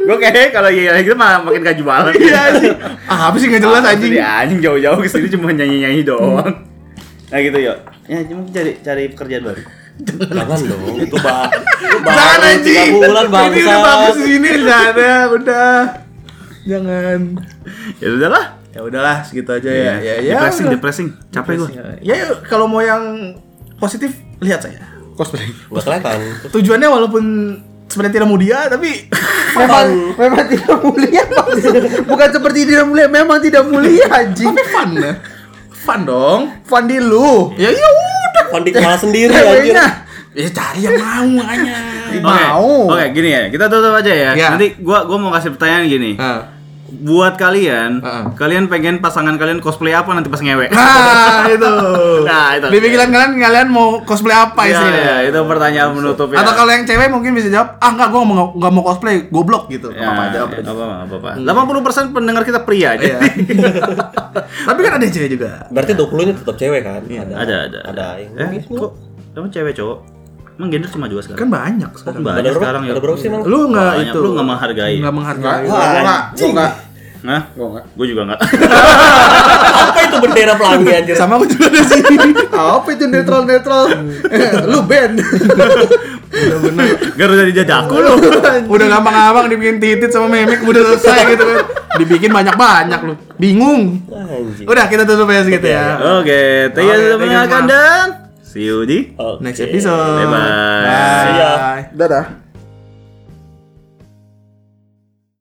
Speaker 1: Gue kayaknya kalau iya gitu mah makin gak jualan.
Speaker 2: Iya anjing. Ah, apa sih nggak jelas anjing? Hmm.
Speaker 1: Ya anjing jauh-jauh ke sini cuma nyanyi-nyanyi doang. Nah gitu yuk. Ya mungkin cari cari pekerjaan baru.
Speaker 4: jangan dong itu bah
Speaker 2: Jangan
Speaker 4: tiga
Speaker 2: anjing. Ini
Speaker 4: bulan
Speaker 2: udah bagus
Speaker 4: bangsa
Speaker 2: di sini ada, udah. Jangan.
Speaker 1: Ya udahlah.
Speaker 2: Ya udahlah, segitu aja ya. Ya ya.
Speaker 1: Iya, depressing,
Speaker 2: udah.
Speaker 1: depressing. Capek gue.
Speaker 2: Ya yuk, kalau mau yang positif lihat saya.
Speaker 3: Cosplay.
Speaker 4: Gak kelihatan
Speaker 2: Tujuannya walaupun sebenarnya tidak mudia tapi
Speaker 3: Memang memang tidak mulia. Bang. Bukan seperti tidak mulia, memang tidak mulia anjing.
Speaker 2: tapi fun ya. Fun dong. Fun di lu. Ya ya udah.
Speaker 4: kondi kepala sendiri
Speaker 2: Iya,
Speaker 4: anjir
Speaker 3: Ceweknya.
Speaker 2: Ya cari yang mau makanya.
Speaker 1: Oke,
Speaker 3: Mau.
Speaker 1: Oke, gini ya. Kita tutup aja ya.
Speaker 2: Ya.
Speaker 1: Nanti gua gua mau kasih pertanyaan gini. Buat kalian,
Speaker 2: Ah.
Speaker 1: kalian pengen pasangan kalian cosplay apa nanti pas ngewe?
Speaker 2: Nah, itu.
Speaker 1: Nah, itu.
Speaker 2: Di pikiran kalian kalian mau cosplay apa
Speaker 1: Iya,
Speaker 2: istilahnya?
Speaker 1: iya, itu pertanyaan menutup ya.
Speaker 2: Atau kalau yang cewek mungkin bisa jawab, ah enggak, gue mau, nggak mau cosplay, goblok gitu.
Speaker 1: ya,
Speaker 2: Apa aja, apa
Speaker 1: ya,
Speaker 2: aja.
Speaker 1: apa
Speaker 2: Hmm.
Speaker 1: apa. Delapan puluh persen pendengar kita pria aja.
Speaker 2: Iya. Tapi kan ada yang cewek juga.
Speaker 4: berarti 20 ini tetap cewek kan ada
Speaker 1: Iya. ada, ada,
Speaker 4: ada yang gitu.
Speaker 1: Eh, kok kamu cewek cowok? Emang gender cuma dua sekarang?
Speaker 2: Kan banyak sekarang.
Speaker 1: Banyak
Speaker 4: ada berapa
Speaker 1: sekarang ya.
Speaker 4: ada berapa sih emang?
Speaker 2: Lu nggak
Speaker 1: Banyak,
Speaker 2: itu?
Speaker 1: lu nggak menghargai.
Speaker 2: Nggak menghargai.
Speaker 3: Enggak, gua enggak, gua enggak.
Speaker 1: Nah,
Speaker 3: Gua enggak.
Speaker 1: gue juga nggak.
Speaker 4: apa itu bendera pelangi anjir
Speaker 2: Sama aku juga dari sini.
Speaker 3: Apa itu netral-netral? Lu band.
Speaker 2: Bener-bener.
Speaker 1: Garuda di dadaku lu.
Speaker 2: Udah gampang-gampang dibikin titit sama memek udah selesai gitu kan. Dibikin banyak-banyak lu. Bingung.
Speaker 4: anjir
Speaker 2: Udah kita tutup ya segitu ya.
Speaker 1: Oke, thank you sudah
Speaker 2: Oke, thank you
Speaker 1: mendengarkan
Speaker 2: semua.
Speaker 4: Oh.
Speaker 1: dan see you di
Speaker 4: Oke.
Speaker 2: Next episode.
Speaker 1: Bye-bye.
Speaker 2: Bye.
Speaker 4: See ya.
Speaker 3: Dadah.